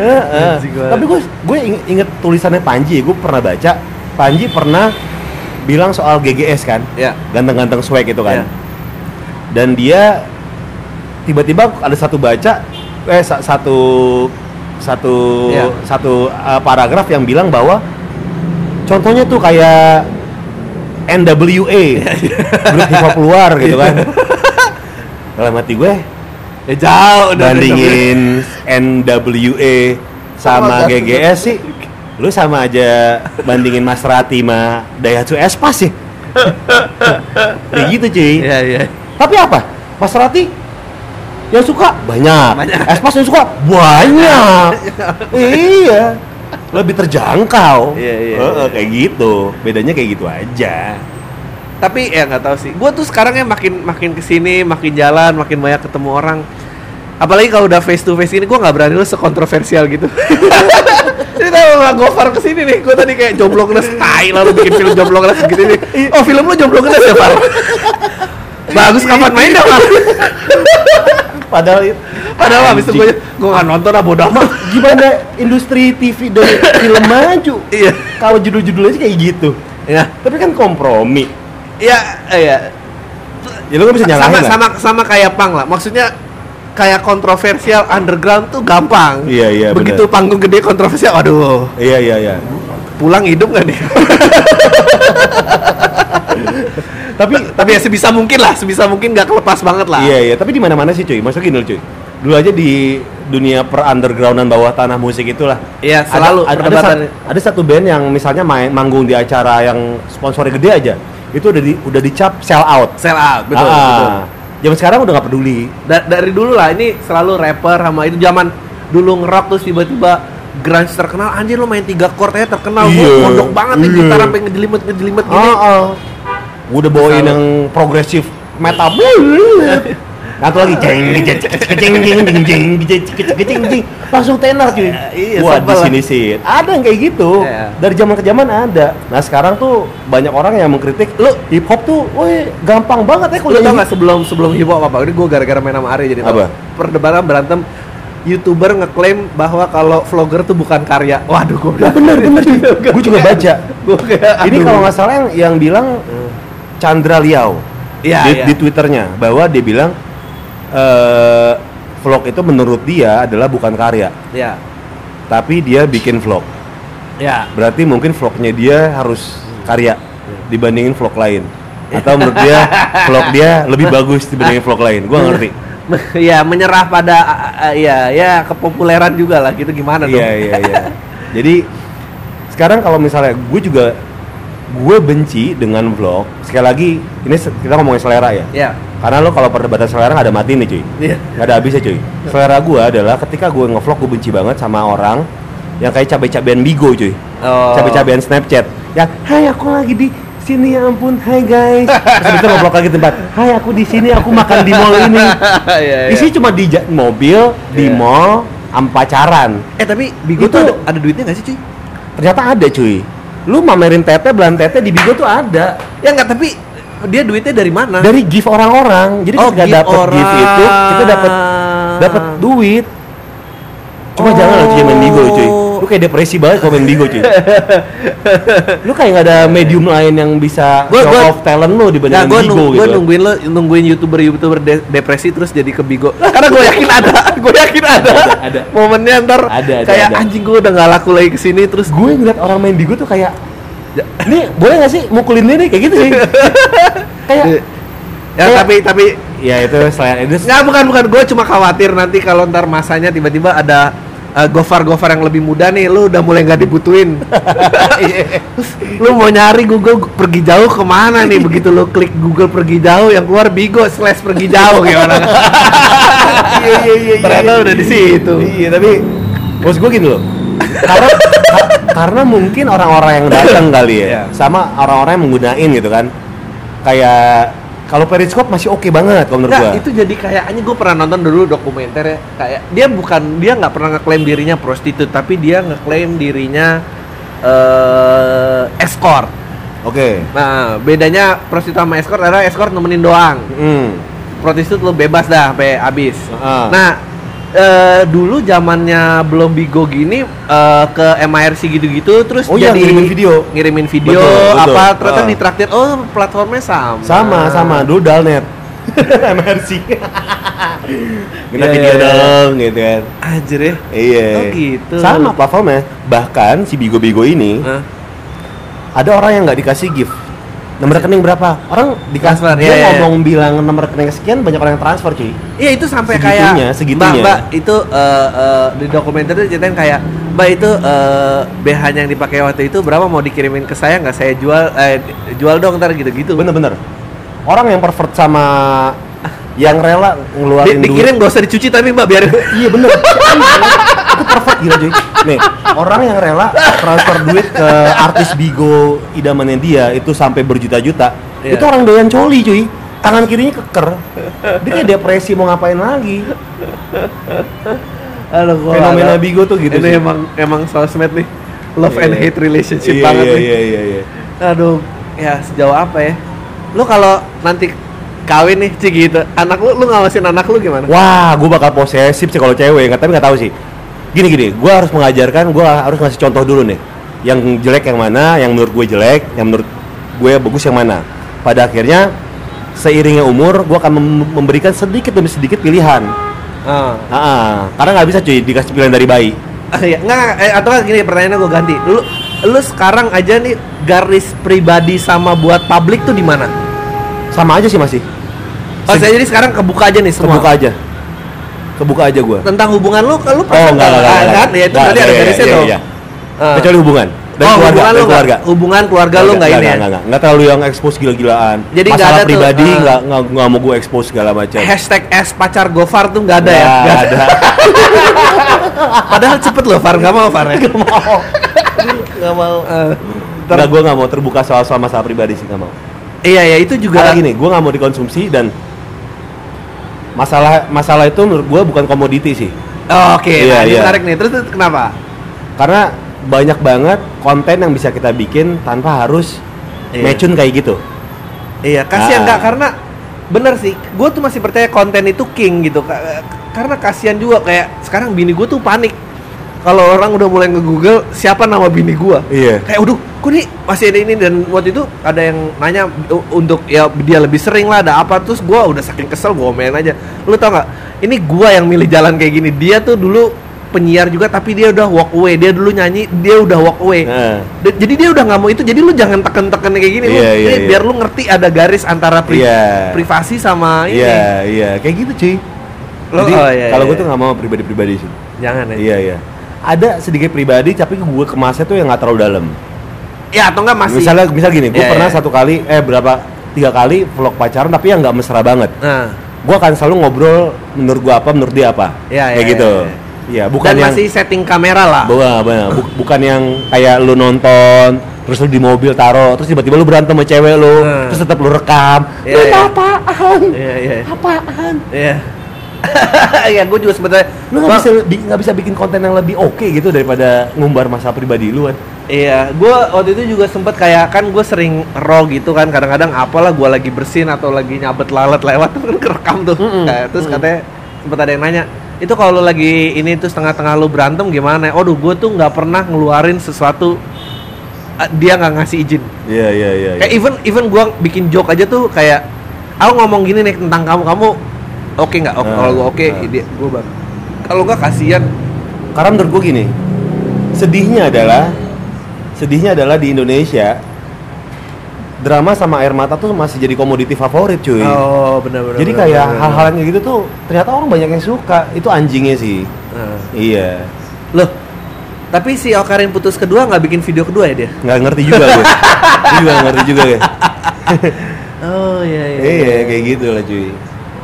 Speaker 2: Eh, eh.
Speaker 1: Anjing banget.
Speaker 2: Tapi gue gue ing- inget tulisannya Panji, gue pernah baca. Panji pernah bilang soal GGS kan,
Speaker 1: Ya.
Speaker 2: ganteng-ganteng swag itu
Speaker 1: Ya.
Speaker 2: kan. Dan dia tiba-tiba ada satu baca, eh sa- satu satu
Speaker 1: Ya.
Speaker 2: satu eh, paragraf yang bilang bahwa contohnya tuh kayak NWA grup hip hop luar gitu kan. Dalam hati gue,
Speaker 1: ya jauh udah-
Speaker 2: bandingin NWA
Speaker 1: Sama
Speaker 2: sama
Speaker 1: kan?
Speaker 2: GGS sih lu sama aja bandingin Maserati sama Daihatsu Espas sih ya gitu cuy
Speaker 1: Iya, iya
Speaker 2: tapi apa Maserati yang suka banyak,
Speaker 1: Banyak.
Speaker 2: Espas yang suka banyak iya lebih terjangkau
Speaker 1: Iya, iya,
Speaker 2: Heeh,
Speaker 1: iya.
Speaker 2: kayak gitu bedanya kayak gitu aja
Speaker 1: Tapi ya nggak tahu sih, gue tuh sekarang ya makin makin kesini, makin jalan, makin banyak ketemu orang Apalagi kalau udah face to face ini, gue nggak berani lu sekontroversial gitu Jadi tau gak Gofar kesini nih, gue tadi kayak jomblo ngenes, tai lalu bikin film jomblo ngenes gitu nih Oh film lu jomblo ngenes ya Far? Bagus kapan main dah Far?
Speaker 2: padahal
Speaker 1: Padahal habis itu gue, gue nggak nonton lah bodo amat
Speaker 2: gimana industri TV dan film maju
Speaker 1: Iya
Speaker 2: kalau judul-judulnya sih kayak gitu
Speaker 1: Ya,
Speaker 2: tapi kan kompromi
Speaker 1: ya, ya
Speaker 2: ya lu gak bisa
Speaker 1: sama,
Speaker 2: nyalahin lah
Speaker 1: sama sama kayak pang lah maksudnya kayak kontroversial underground tuh gampang
Speaker 2: Iya, iya,
Speaker 1: begitu
Speaker 2: benar.
Speaker 1: panggung gede kontroversial aduh
Speaker 2: iya iya iya
Speaker 1: pulang hidup nggak nih
Speaker 2: tapi
Speaker 1: tapi ya sebisa mungkin lah sebisa mungkin nggak kelepas banget lah
Speaker 2: iya iya tapi di mana mana sih cuy maksudnya gini loh cuy dulu aja di dunia per undergroundan bawah tanah musik itulah
Speaker 1: Iya,
Speaker 2: Ada-
Speaker 1: selalu
Speaker 2: ada, ada,
Speaker 1: perdebatan.
Speaker 2: sat- ada satu band yang misalnya main manggung di acara yang sponsornya gede aja itu udah di, udah dicap sell out
Speaker 1: sell out betul,
Speaker 2: Ah,
Speaker 1: betul.
Speaker 2: zaman sekarang udah nggak peduli
Speaker 1: Da- dari dulu lah ini selalu rapper sama itu zaman dulu ngerock terus tiba-tiba grunge terkenal anjir lu main tiga chord aja terkenal gua
Speaker 2: Iya,
Speaker 1: mondok banget nih
Speaker 2: iya.
Speaker 1: gitar sampai ngejelimet ngejelimet
Speaker 2: Ah,
Speaker 1: gini
Speaker 2: ah. Gua udah bawain
Speaker 1: Salah.
Speaker 2: yang progresif metal. Nah, Satu lagi jeng jeng jeng jeng jeng jeng jeng jeng jeng jeng langsung tenor cuy.
Speaker 1: Iya,
Speaker 2: Wah di
Speaker 1: sebel.
Speaker 2: sini sih ada yang kayak gitu.
Speaker 1: Iya.
Speaker 2: Dari zaman ke zaman ada. Nah sekarang tuh banyak orang yang mengkritik lu hip hop tuh, woi gampang banget
Speaker 1: Lu
Speaker 2: ya kalau
Speaker 1: tau
Speaker 2: nyanyi."
Speaker 1: gak sebelum sebelum hip hop apa? Ini gue gara-gara main sama Ari jadi tau.
Speaker 2: Apa?
Speaker 1: Perdebatan berantem youtuber ngeklaim bahwa kalau vlogger tuh bukan karya. Waduh, gue
Speaker 2: Nah,
Speaker 1: bilang
Speaker 2: bener bener cuy. Gue juga baca.
Speaker 1: gue kayak
Speaker 2: Ini
Speaker 1: Iya. aduh.
Speaker 2: kalau nggak salah yang yang bilang Chandra Liao.
Speaker 1: Iya,
Speaker 2: di,
Speaker 1: iya.
Speaker 2: di twitternya bahwa dia bilang eh vlog itu menurut dia adalah bukan karya
Speaker 1: Iya.
Speaker 2: tapi dia bikin vlog
Speaker 1: Iya.
Speaker 2: berarti mungkin vlognya dia harus karya dibandingin vlog lain atau menurut dia vlog dia lebih bagus dibandingin vlog lain gua nggak ngerti
Speaker 1: Me- Iya, menyerah pada a- a- iya, ya kepopuleran juga lah gitu gimana dong.
Speaker 2: iya iya iya jadi sekarang kalau misalnya gue juga gue benci dengan vlog sekali lagi ini se- kita ngomongin selera ya
Speaker 1: Iya.
Speaker 2: karena lo kalau perdebatan selera nggak ada mati nih cuy
Speaker 1: Iya.
Speaker 2: Gak ada habisnya cuy Selera gue adalah ketika gue ngevlog gue benci banget sama orang Yang kayak cabai-cabean bigo cuy
Speaker 1: Oh.
Speaker 2: Cabai-cabean Snapchat Yang hai aku lagi di sini ya ampun hai guys Terus habis itu ngevlog lagi tempat Hai aku di sisi aku makan di mall ini
Speaker 1: Iya, iya.
Speaker 2: Isinya cuma di ja- mobil,
Speaker 1: Iya.
Speaker 2: di mall, sama pacaran
Speaker 1: Eh tapi Bigo
Speaker 2: Itu-
Speaker 1: tuh ada, ada duitnya gak sih cuy?
Speaker 2: Ternyata ada cuy Lu mamerin tete, belan tete di bigo tuh ada
Speaker 1: Ya nggak tapi dia duitnya dari mana?
Speaker 2: dari gift orang-orang jadi
Speaker 1: Oh,
Speaker 2: ketika
Speaker 1: gift
Speaker 2: dapat gift
Speaker 1: orang.
Speaker 2: itu kita dapat dapat
Speaker 1: Ah.
Speaker 2: duit cuma
Speaker 1: Oh.
Speaker 2: jangan lah cuy main bigo cuy lu kayak depresi banget kalau main bigo cuy lu kayak nggak ada medium lain yang bisa
Speaker 1: Gua-
Speaker 2: show
Speaker 1: gua-
Speaker 2: off talent lu
Speaker 1: Nah,
Speaker 2: dibandingin
Speaker 1: gue
Speaker 2: bigo gitu kan.
Speaker 1: nungguin lo nungguin youtuber youtuber depresi terus jadi ke bigo karena gue yakin ada gue yakin ada
Speaker 2: Ada, ada.
Speaker 1: momennya ntar
Speaker 2: Ada, ada,
Speaker 1: kayak
Speaker 2: ada.
Speaker 1: anjing gue udah nggak laku lagi kesini terus
Speaker 2: gue ngeliat orang main bigo tuh kayak
Speaker 1: Ya.
Speaker 2: ini boleh gak sih mukulin dia nih kayak gitu sih kayak
Speaker 1: ya
Speaker 2: Kayak-
Speaker 1: tapi tapi
Speaker 2: ya itu selain itu
Speaker 1: nggak bukan bukan gue cuma khawatir nanti kalau ntar masanya tiba-tiba ada eh, gofar-gofar yang lebih muda nih lu udah mulai nggak dibutuhin Terus, lu mau nyari Google pergi jauh kemana nih begitu lu klik Google pergi jauh yang keluar bigo slash pergi jauh kayak orang
Speaker 2: iya iya iya
Speaker 1: Ternyata udah di situ.
Speaker 2: iya tapi bos gue gitu loh karena ka- karena mungkin orang-orang yang datang kali ya
Speaker 1: Iya.
Speaker 2: sama orang-orang yang menggunain gitu kan kayak kalau Periscope masih oke banget kalau menurut
Speaker 1: Nggak,
Speaker 2: gue
Speaker 1: Nah, itu jadi kayaknya gue pernah nonton dulu dokumenter ya kayak dia bukan dia nggak pernah ngeklaim dirinya prostitut tapi dia ngeklaim dirinya eh escort
Speaker 2: oke
Speaker 1: nah bedanya prostitut sama escort adalah escort nemenin doang
Speaker 2: Hmm.
Speaker 1: prostitut lu bebas dah sampai habis
Speaker 2: Heeh.
Speaker 1: nah eh, dulu zamannya belum bigo gini eh, ke MIRC gitu-gitu terus
Speaker 2: Oh iya, ngirimin video.
Speaker 1: ngirimin video
Speaker 2: Betul, betul.
Speaker 1: apa ternyata
Speaker 2: Ah.
Speaker 1: ditraktir oh platformnya sama
Speaker 2: sama sama dulu Dalnet MRC kita
Speaker 1: Iya,
Speaker 2: video
Speaker 1: iya, iya.
Speaker 2: dong gitu kan
Speaker 1: anjir ya
Speaker 2: iya
Speaker 1: Oh, gitu.
Speaker 2: sama platformnya bahkan si Bigo-Bigo ini
Speaker 1: Hah?
Speaker 2: ada orang yang nggak dikasih gift nomor rekening berapa orang dikasih
Speaker 1: Transfer,
Speaker 2: dia
Speaker 1: iya, iya.
Speaker 2: ngomong bilang nomor rekening sekian banyak orang yang transfer cuy
Speaker 1: Iya itu sampai
Speaker 2: Segitunya,
Speaker 1: kayak
Speaker 2: segitunya.
Speaker 1: Mbak, mbak itu eh, eh, di dokumenter tuh ceritain kayak Mbak itu eh, BH -nya yang dipakai waktu itu berapa mau dikirimin ke saya nggak saya jual eh, jual dong ntar gitu-gitu.
Speaker 2: bener-bener orang yang pervert sama yang rela
Speaker 1: Di-
Speaker 2: ngeluarin
Speaker 1: dikirim gak usah dicuci tapi Mbak biarin.
Speaker 2: duit iya bener aku pervert gila cuy nih orang yang rela transfer duit ke artis Bigo idamannya dia itu sampai berjuta-juta
Speaker 1: Iya.
Speaker 2: itu orang doyan coli cuy tangan kirinya keker dia kayak depresi mau ngapain lagi
Speaker 1: Aduh, gua
Speaker 2: fenomena
Speaker 1: ada-
Speaker 2: Bigo tuh gitu
Speaker 1: Ini
Speaker 2: sih.
Speaker 1: emang emang sosmed nih. Love and
Speaker 2: Iya.
Speaker 1: hate relationship
Speaker 2: Iya,
Speaker 1: banget
Speaker 2: iya,
Speaker 1: nih.
Speaker 2: iya iya iya
Speaker 1: Aduh, ya sejauh apa ya? Lu kalau nanti kawin nih Ci gitu, anak lu lu ngawasin anak lu gimana?
Speaker 2: Wah, gue bakal posesif sih kalau cewek, nggak tapi nggak tahu sih. Gini gini, gue harus mengajarkan, gue harus ngasih contoh dulu nih. Yang jelek yang mana, yang menurut gue jelek, yang menurut gue bagus yang mana. Pada akhirnya seiringnya umur, gue akan mem- memberikan sedikit demi sedikit pilihan.
Speaker 1: Ah.
Speaker 2: Ah, ah. karena nggak bisa cuy dikasih pilihan dari bayi.
Speaker 1: Ah, iya. Nggak, nggak. eh, atau nggak gini pertanyaannya gue ganti. Lu lu sekarang aja nih garis pribadi sama buat publik tuh di mana?
Speaker 2: Sama aja sih masih.
Speaker 1: Oh, saya jadi sekarang kebuka aja nih semua.
Speaker 2: Kebuka aja. Kebuka aja gue.
Speaker 1: Tentang hubungan lu, lu
Speaker 2: Oh, enggak, enggak, enggak, enggak.
Speaker 1: kan? Ya itu
Speaker 2: Enggak,
Speaker 1: tadi ada
Speaker 2: iya,
Speaker 1: garisnya
Speaker 2: iya,
Speaker 1: tuh.
Speaker 2: iya.
Speaker 1: Ah.
Speaker 2: Kecuali hubungan
Speaker 1: oh,
Speaker 2: dari keluarga,
Speaker 1: hubungan lu
Speaker 2: dari
Speaker 1: nggak-
Speaker 2: keluarga.
Speaker 1: Hubungan keluarga lu nggak ini ya?
Speaker 2: Enggak, enggak, terlalu yang expose gila-gilaan.
Speaker 1: Jadi nggak
Speaker 2: Masalah
Speaker 1: ada tuh,
Speaker 2: pribadi
Speaker 1: eh.
Speaker 2: nggak nggak nggak mau gue expose segala macam.
Speaker 1: Hashtag S pacar Gofar tuh nggak ada ya?
Speaker 2: Nggak
Speaker 1: Nggak
Speaker 2: ada.
Speaker 1: ada. Padahal cepet loh Far, nggak mau Far ya? Nggak mau. Nggak mau. Eh, ntar-
Speaker 2: Nggak, gue nggak mau terbuka soal-soal masalah pribadi sih nggak mau.
Speaker 1: iya ya itu juga.
Speaker 2: Karena gini, gue nggak mau dikonsumsi dan masalah masalah itu menurut gue bukan komoditi sih.
Speaker 1: Oh, Oke,
Speaker 2: Iya,
Speaker 1: nah, ini
Speaker 2: iya.
Speaker 1: menarik nih. Terus terus kenapa?
Speaker 2: Karena banyak banget konten yang bisa kita bikin tanpa harus
Speaker 1: Iya.
Speaker 2: mecun kayak gitu.
Speaker 1: Iya, kasihan
Speaker 2: Ah.
Speaker 1: Kak karena bener sih, gue tuh masih percaya konten itu king gitu. Ka- Karena kasihan juga kayak sekarang bini gue tuh panik. Kalau orang udah mulai nge-google siapa nama bini gua.
Speaker 2: Iya.
Speaker 1: Kayak udah, kok nih masih ada ini dan waktu itu ada yang nanya u- untuk ya dia lebih sering lah ada apa terus gua udah saking kesel gua main aja. Lu tau nggak? Ini gua yang milih jalan kayak gini. Dia tuh dulu penyiar juga tapi dia udah walk away. Dia dulu nyanyi, dia udah walk away.
Speaker 2: Nah,
Speaker 1: Da- jadi dia udah nggak mau itu jadi lu jangan teken-teken kayak gini lu
Speaker 2: Iya, iya,
Speaker 1: ini
Speaker 2: iya.
Speaker 1: biar lu ngerti ada garis antara pri-
Speaker 2: Iya.
Speaker 1: privasi sama Nah, ini
Speaker 2: iya, iya, kayak gitu cuy.
Speaker 1: Lo-
Speaker 2: Jadi
Speaker 1: oh, iya,
Speaker 2: kalau
Speaker 1: iya,
Speaker 2: gue tuh nggak mau pribadi-pribadi sih.
Speaker 1: jangan ya
Speaker 2: Iya iya. Ada sedikit pribadi tapi gue kemasnya tuh yang nggak terlalu dalam.
Speaker 1: ya atau enggak masih
Speaker 2: Misalnya misal gini, gue
Speaker 1: Iya,
Speaker 2: pernah
Speaker 1: iya.
Speaker 2: satu kali eh berapa tiga kali vlog pacaran tapi yang nggak mesra banget.
Speaker 1: nah
Speaker 2: Gue akan selalu ngobrol menurut gue apa, menurut dia apa.
Speaker 1: Iya,
Speaker 2: kayak
Speaker 1: iya,
Speaker 2: gitu.
Speaker 1: iya,
Speaker 2: Iya, bukan
Speaker 1: bukan
Speaker 2: yang
Speaker 1: masih setting kamera lah
Speaker 2: Bukan, bukan, bu- bukan yang kayak lu nonton terus lu di mobil taro terus tiba-tiba lu berantem sama cewek lu
Speaker 1: Hmm.
Speaker 2: terus tetap lu rekam
Speaker 1: Iya,
Speaker 2: lu
Speaker 1: iya.
Speaker 2: apaan
Speaker 1: iya iya
Speaker 2: apaan
Speaker 1: iya ya gue juga sebenarnya
Speaker 2: lu nggak
Speaker 1: Bang,
Speaker 2: bisa bi- nggak bisa bikin konten yang lebih oke gitu daripada ngumbar masalah pribadi lu kan
Speaker 1: Iya, gue waktu itu juga sempet kayak kan gue sering raw gitu kan kadang-kadang apalah gue lagi bersin atau lagi nyabet lalat lewat tuh kan kerekam tuh.
Speaker 2: Mm-mm.
Speaker 1: Kayak, terus katanya sempet ada yang nanya, itu kalau lu lagi ini terus tengah-tengah lu berantem gimana? Aduh, gue tuh nggak pernah ngeluarin sesuatu eh, dia nggak ngasih izin.
Speaker 2: Iya iya iya.
Speaker 1: Kayak even even gue bikin joke aja tuh kayak, aku ngomong gini nih tentang kamu kamu oke nggak? Oke,
Speaker 2: Nah,
Speaker 1: kalau gue oke,
Speaker 2: nah.
Speaker 1: dia gue bang. Kalau nggak kasihan.
Speaker 2: Karena menurut gue gini, sedihnya adalah sedihnya adalah di Indonesia drama sama air mata tuh masih jadi komoditi favorit cuy.
Speaker 1: Oh benar-benar.
Speaker 2: jadi
Speaker 1: benar,
Speaker 2: kayak
Speaker 1: benar,
Speaker 2: hal-hal yang kayak gitu tuh ternyata orang banyak yang suka. Itu anjingnya sih.
Speaker 1: benar. Nah.
Speaker 2: Iya.
Speaker 1: Loh, tapi si Okarin putus kedua nggak bikin video kedua ya dia?
Speaker 2: Nggak ngerti juga gue. Gue juga nggak ngerti juga gue.
Speaker 1: Oh iya
Speaker 2: Iya kayak gitu lah cuy.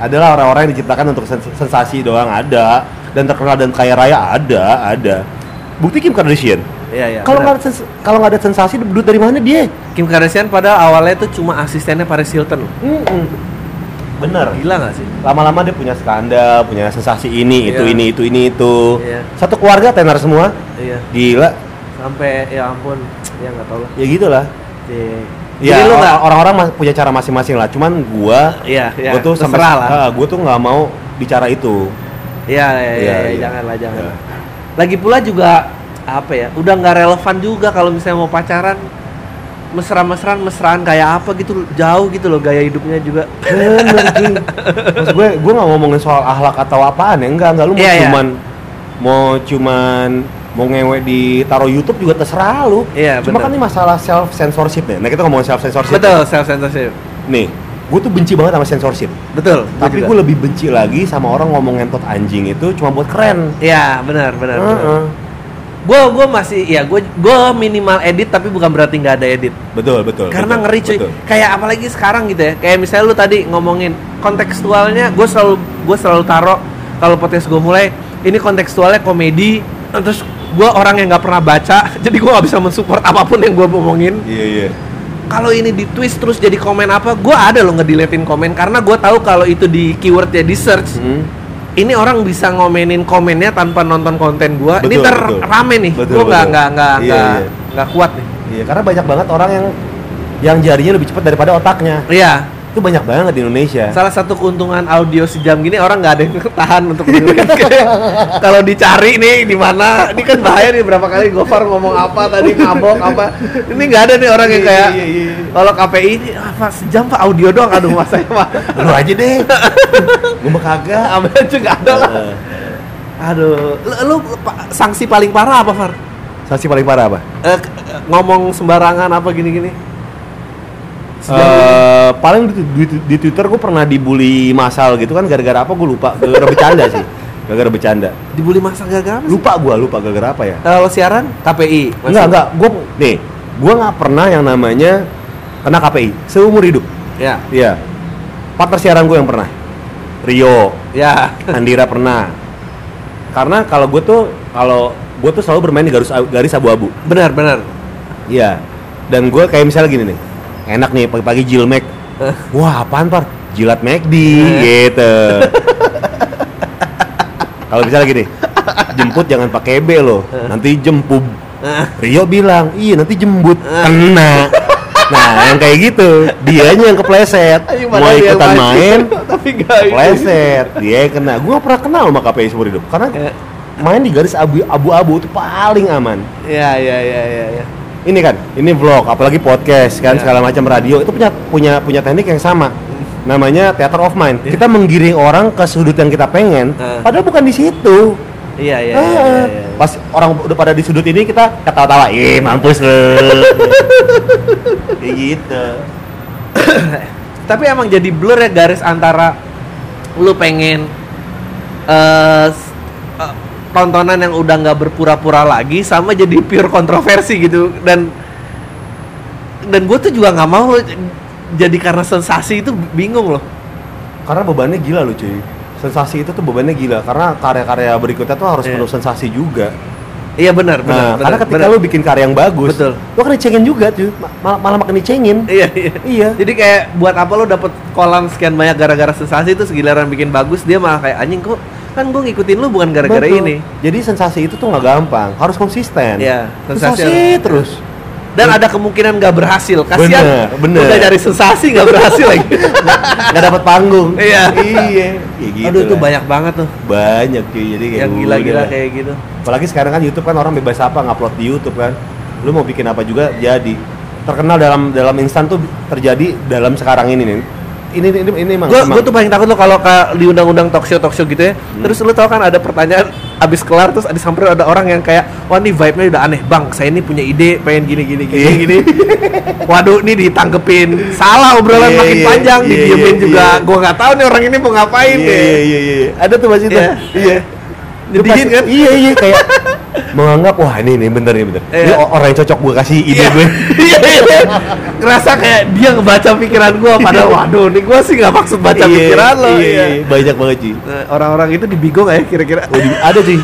Speaker 2: Adalah orang-orang yang diciptakan untuk sens- sensasi doang ada dan terkenal dan kaya raya ada ada. Bukti Kim Kardashian.
Speaker 1: Iya iya.
Speaker 2: Kalau nggak
Speaker 1: benar.
Speaker 2: ada sens- kalau nggak ada sensasi duit dari mana dia?
Speaker 1: Kim Kardashian padahal awalnya tuh cuma asistennya Paris Hilton. loh.
Speaker 2: Bener.
Speaker 1: Gila nggak sih?
Speaker 2: Lama-lama dia punya skandal, punya sensasi ini, itu,
Speaker 1: Iya.
Speaker 2: ini, itu, ini, itu.
Speaker 1: Iya.
Speaker 2: Satu keluarga tenar semua.
Speaker 1: Iya.
Speaker 2: Gila.
Speaker 1: Sampai ya ampun, ya nggak tahu lah.
Speaker 2: Ya gitulah.
Speaker 1: Iya.
Speaker 2: Ya,
Speaker 1: Jadi lu nggak?
Speaker 2: or- orang-orang mas- punya cara masing-masing lah. Cuman gua
Speaker 1: Iya iya.
Speaker 2: gua tuh sampai
Speaker 1: terserah lah.
Speaker 2: Ah, gua tuh nggak mau bicara itu.
Speaker 1: Iya iya iya.
Speaker 2: Iya,
Speaker 1: iya,
Speaker 2: iya.
Speaker 1: Jangan lah jangan.
Speaker 2: Iya.
Speaker 1: Lagi pula juga apa ya? Udah nggak relevan juga kalau misalnya mau pacaran mesra-mesraan mesraan kayak apa gitu jauh gitu loh gaya hidupnya juga
Speaker 2: Bener cuy. Maksud gue, gue nggak ngomongin soal ahlak atau apaan ya, enggak, enggak lu mau
Speaker 1: Iya, iya.
Speaker 2: cuman mau cuman mau ngewe di taruh YouTube juga terserah lu.
Speaker 1: Iya,
Speaker 2: Cuma
Speaker 1: bener.
Speaker 2: kan ini masalah self censorship ya. Nah, kita ngomongin self censorship.
Speaker 1: betul self censorship
Speaker 2: Nih, gue tuh benci banget sama censorship.
Speaker 1: betul
Speaker 2: Tapi
Speaker 1: juga.
Speaker 2: gue lebih benci lagi sama orang ngomong ngentot anjing itu cuma buat keren.
Speaker 1: Iya benar benar.
Speaker 2: Heeh.
Speaker 1: Gue gue masih ya gue gue minimal edit tapi bukan berarti nggak ada edit.
Speaker 2: Betul, betul.
Speaker 1: Karena
Speaker 2: betul,
Speaker 1: ngeri cuy.
Speaker 2: betul.
Speaker 1: Kayak apalagi sekarang gitu ya. Kayak misalnya lu tadi ngomongin kontekstualnya, gue selalu gue selalu taruh kalau podcast gue mulai ini kontekstualnya komedi. Terus gue orang yang nggak pernah baca, jadi gue nggak bisa mensupport apapun yang gue omongin.
Speaker 2: Iya, iya.
Speaker 1: Kalau ini di twist terus jadi komen apa, gue ada loh ngediletin komen karena gue tahu kalau itu di keywordnya di search,
Speaker 2: Hmm.
Speaker 1: ini orang bisa ngomenin komennya tanpa nonton konten gua. ini
Speaker 2: Betul,
Speaker 1: ter
Speaker 2: betul.
Speaker 1: rame nih.
Speaker 2: Betul,
Speaker 1: gua nggak
Speaker 2: betul.
Speaker 1: nggak nggak
Speaker 2: Iya,
Speaker 1: nggak
Speaker 2: iya.
Speaker 1: nggak kuat nih.
Speaker 2: Iya, karena banyak banget orang yang yang jarinya lebih cepat daripada otaknya.
Speaker 1: Iya,
Speaker 2: Itu banyak banget di Indonesia.
Speaker 1: salah satu keuntungan audio sejam gini orang nggak ada yang tahan untuk dengerin. Kalau dicari nih di mana, ini kan bahaya nih berapa kali Gofar ngomong apa tadi ngabok apa. Ini nggak ada nih orang yang
Speaker 2: Iya,
Speaker 1: kayak
Speaker 2: iya, iya, iya.
Speaker 1: kalau KPI ini apa sejam pak audio doang aduh mas saya mah.
Speaker 2: iya. lu aja deh gue mah kagak Eh,
Speaker 1: Ambil aja nggak ada lah. Aduh, lu, lu pa- sanksi paling parah apa Far?
Speaker 2: sanksi paling parah apa
Speaker 1: Eh, k- eh, ngomong sembarangan apa gini-gini?
Speaker 2: Eh, paling di, di- di Twitter gue pernah dibully masal gitu kan gara-gara apa gue lupa gara-gara bercanda sih gara-gara bercanda
Speaker 1: dibully masa gagal
Speaker 2: lupa gue lupa gara-gara apa ya
Speaker 1: kalau Eh, siaran KPI masih-
Speaker 2: enggak enggak gue nih gue nggak pernah yang namanya kena KPI seumur hidup
Speaker 1: ya
Speaker 2: iya partner siaran gue yang pernah Rio
Speaker 1: ya
Speaker 2: Andira pernah karena kalau gue tuh kalau gue tuh selalu bermain di garis garis abu-abu
Speaker 1: benar benar
Speaker 2: Iya. Dan gue kayak misalnya gini nih, enak nih pagi-pagi jilmek.
Speaker 1: Eh.
Speaker 2: Wah apaan par? Jilat McD
Speaker 1: Eh.
Speaker 2: gitu. Kalau misalnya gini, jemput jangan pakai E B loh,
Speaker 1: Eh.
Speaker 2: nanti jempub.
Speaker 1: Eh.
Speaker 2: Rio bilang, iya nanti jembut
Speaker 1: Ah.
Speaker 2: kena. Nah yang kayak gitu, dianya yang kepleset,
Speaker 1: Ayo,
Speaker 2: mau
Speaker 1: padahal dia
Speaker 2: ikutan
Speaker 1: maju.
Speaker 2: main,
Speaker 1: tapi gak
Speaker 2: kepleseet, dia yang kena. Gue pernah kenal sama KPI seumur hidup,
Speaker 1: Eh.
Speaker 2: karena main di garis abu- abu-abu itu paling aman
Speaker 1: ya ya ya ya ya
Speaker 2: ini kan ini vlog apalagi podcast kan
Speaker 1: Ya.
Speaker 2: segala macam radio itu punya punya punya teknik yang sama namanya theater of mind
Speaker 1: Iya.
Speaker 2: kita menggiring orang ke sudut yang kita pengen
Speaker 1: Ah.
Speaker 2: padahal bukan di situ
Speaker 1: iya iya
Speaker 2: Ah.
Speaker 1: iya, iya, iya.
Speaker 2: pas orang udah pada di sudut ini kita ketawa-tawa ih mampus lu Kayak gitu
Speaker 1: tapi emang jadi blur ya garis antara lu pengen eh, s- eh, tontonan yang udah nggak berpura-pura lagi sama jadi pure kontroversi gitu dan dan gue tuh juga nggak mau jadi karena sensasi itu bingung loh
Speaker 2: karena bebannya gila loh cuy sensasi itu tuh bebannya gila karena karya-karya berikutnya tuh harus
Speaker 1: Iya.
Speaker 2: penuh sensasi juga
Speaker 1: iya benar
Speaker 2: nah
Speaker 1: benar benar,
Speaker 2: karena ketika
Speaker 1: benar.
Speaker 2: lu bikin karya yang bagus
Speaker 1: Betul.
Speaker 2: lu kan dicengin juga cuy Ma- malah, malah makin dicengin
Speaker 1: Iya, iya.
Speaker 2: iya
Speaker 1: Jadi kayak buat apa lo dapet kolam sekian banyak gara-gara sensasi itu giliran bikin bagus dia malah kayak anjing kok kan gue ngikutin lu bukan gara-gara
Speaker 2: Betul.
Speaker 1: ini
Speaker 2: Jadi sensasi itu tuh nggak gampang, harus konsisten.
Speaker 1: Iya, sensasi
Speaker 2: sensasi, terus.
Speaker 1: dan ada kemungkinan nggak berhasil kasihan
Speaker 2: Bener, bener.
Speaker 1: udah dari sensasi nggak berhasil lagi
Speaker 2: Nggak dapat panggung.
Speaker 1: Iya.
Speaker 2: iya. Ya gitu
Speaker 1: aduh itu
Speaker 2: lah. Iya,
Speaker 1: banyak banget tuh
Speaker 2: banyak cuy. Jadi kayak
Speaker 1: yang
Speaker 2: udah
Speaker 1: gila-gila
Speaker 2: lah.
Speaker 1: kayak gitu
Speaker 2: Apalagi sekarang kan YouTube kan orang bebas apa ngupload di YouTube kan. Lu mau bikin apa juga jadi. Terkenal dalam dalam instan tuh terjadi dalam sekarang ini nih. Ini ini ini emang.
Speaker 1: gue
Speaker 2: emang. Hmm.
Speaker 1: tuh paling takut lo kalau ke- di undang-undang talk show talk show gitu ya terus lo tau kan ada pertanyaan abis kelar terus di samping ada orang yang kayak wah ini vibe nya udah aneh bang saya ini punya ide pengen gini gini gini
Speaker 2: Iya.
Speaker 1: gini waduh ini ditanggepin salah obrolan
Speaker 2: Iya,
Speaker 1: makin
Speaker 2: iya,
Speaker 1: panjang
Speaker 2: iya,
Speaker 1: didiemin
Speaker 2: iya,
Speaker 1: juga
Speaker 2: iya.
Speaker 1: gue nggak tahu nih orang ini mau ngapain
Speaker 2: Iya
Speaker 1: deh
Speaker 2: iya iya iya. Ada tuh masih
Speaker 1: Iya.
Speaker 2: Iya.
Speaker 1: Nyedihin
Speaker 2: Pas-
Speaker 1: kan?
Speaker 2: Iya iya kayak menganggap wah ini ini bener ini bener. Ini
Speaker 1: Iya.
Speaker 2: o- orang yang cocok gue kasih ide
Speaker 1: Iya,
Speaker 2: gue.
Speaker 1: iya, iya. Ngerasa kayak dia ngebaca pikiran gue Padahal waduh nih gue sih gak maksud baca
Speaker 2: Iya,
Speaker 1: pikiran lo
Speaker 2: Iya,
Speaker 1: iya.
Speaker 2: iya, banyak banget sih.
Speaker 1: Nah, Orang-orang itu dibigo gak ya kira-kira
Speaker 2: Oh, di- ada sih.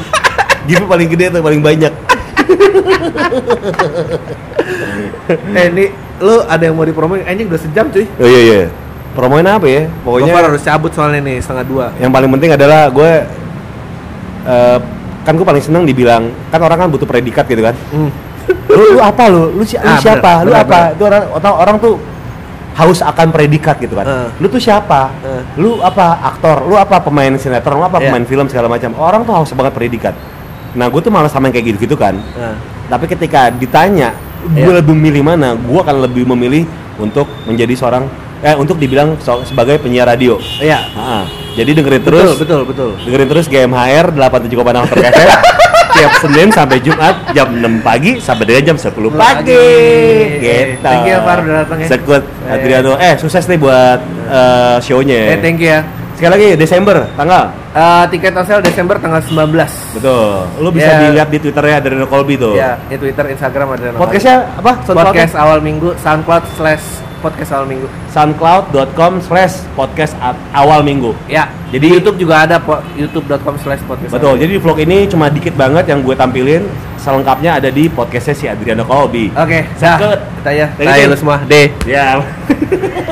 Speaker 2: Gitu paling gede atau paling banyak.
Speaker 1: Eh ini lu ada yang mau dipromoin Anjing udah sejam cuy
Speaker 2: Oh iya iya. Promoin apa ya? Pokoknya
Speaker 1: Gofar harus cabut soalnya nih setengah dua
Speaker 2: yang paling penting adalah gue eh, kan gue paling seneng dibilang kan orang kan butuh predikat gitu kan. Lu, lu apa lu? Lu, si- lu
Speaker 1: Ah, bener,
Speaker 2: siapa? lu
Speaker 1: bener,
Speaker 2: apa?
Speaker 1: bener.
Speaker 2: Itu orang orang, orang tuh haus akan predikat gitu kan.
Speaker 1: Eh.
Speaker 2: Lu tuh siapa?
Speaker 1: Eh.
Speaker 2: Lu apa aktor? Lu apa pemain sinetron? Lu apa
Speaker 1: Iya.
Speaker 2: pemain film segala macam. Orang tuh haus banget predikat. Nah, gue tuh malas sama yang kayak gitu-gitu kan.
Speaker 1: Nah,
Speaker 2: Tapi ketika ditanya, gue
Speaker 1: Iya.
Speaker 2: lebih memilih mana? Gue akan lebih memilih untuk menjadi seorang eh untuk dibilang so- sebagai penyiar radio.
Speaker 1: Iya
Speaker 2: Ah, jadi dengerin terus,
Speaker 1: Betul betul, betul.
Speaker 2: dengerin terus GMHR 87,6 FM tiap Senin sampai Jumat jam 6 pagi sampai dengan jam 10
Speaker 1: Pagi.
Speaker 2: pagi. Gitu.
Speaker 1: Thank you, Far, udah datang ya.
Speaker 2: Sekut
Speaker 1: Eh.
Speaker 2: Adriano. Eh, sukses nih buat eh, show-nya.
Speaker 1: Eh thank you ya
Speaker 2: Sekali lagi Desember tanggal.
Speaker 1: Eh, Tiket on sale Desember tanggal 19
Speaker 2: Betul. Lu
Speaker 1: Ya.
Speaker 2: bisa dilihat di Twitternya Adriano Colby tuh.
Speaker 1: Ya di Twitter, Instagram ada nama.
Speaker 2: Podcastnya ya? apa? Soundcloud-nya?
Speaker 1: Podcast awal minggu Soundcloud slash podcast awal minggu
Speaker 2: soundcloud.com slash podcast a- awal minggu
Speaker 1: Ya,
Speaker 2: Jadi-
Speaker 1: di YouTube juga ada po- youtube.com slash podcast.
Speaker 2: betul jadi di vlog ini cuma dikit banget yang gue tampilin selengkapnya ada di
Speaker 1: Ah.
Speaker 2: podcastnya si Adriano Kolbi
Speaker 1: Oke, dah.
Speaker 2: Sakit.
Speaker 1: Kita ya.
Speaker 2: Thank you,
Speaker 1: Tanya
Speaker 2: Tim.
Speaker 1: lu semua. Deh.
Speaker 2: ya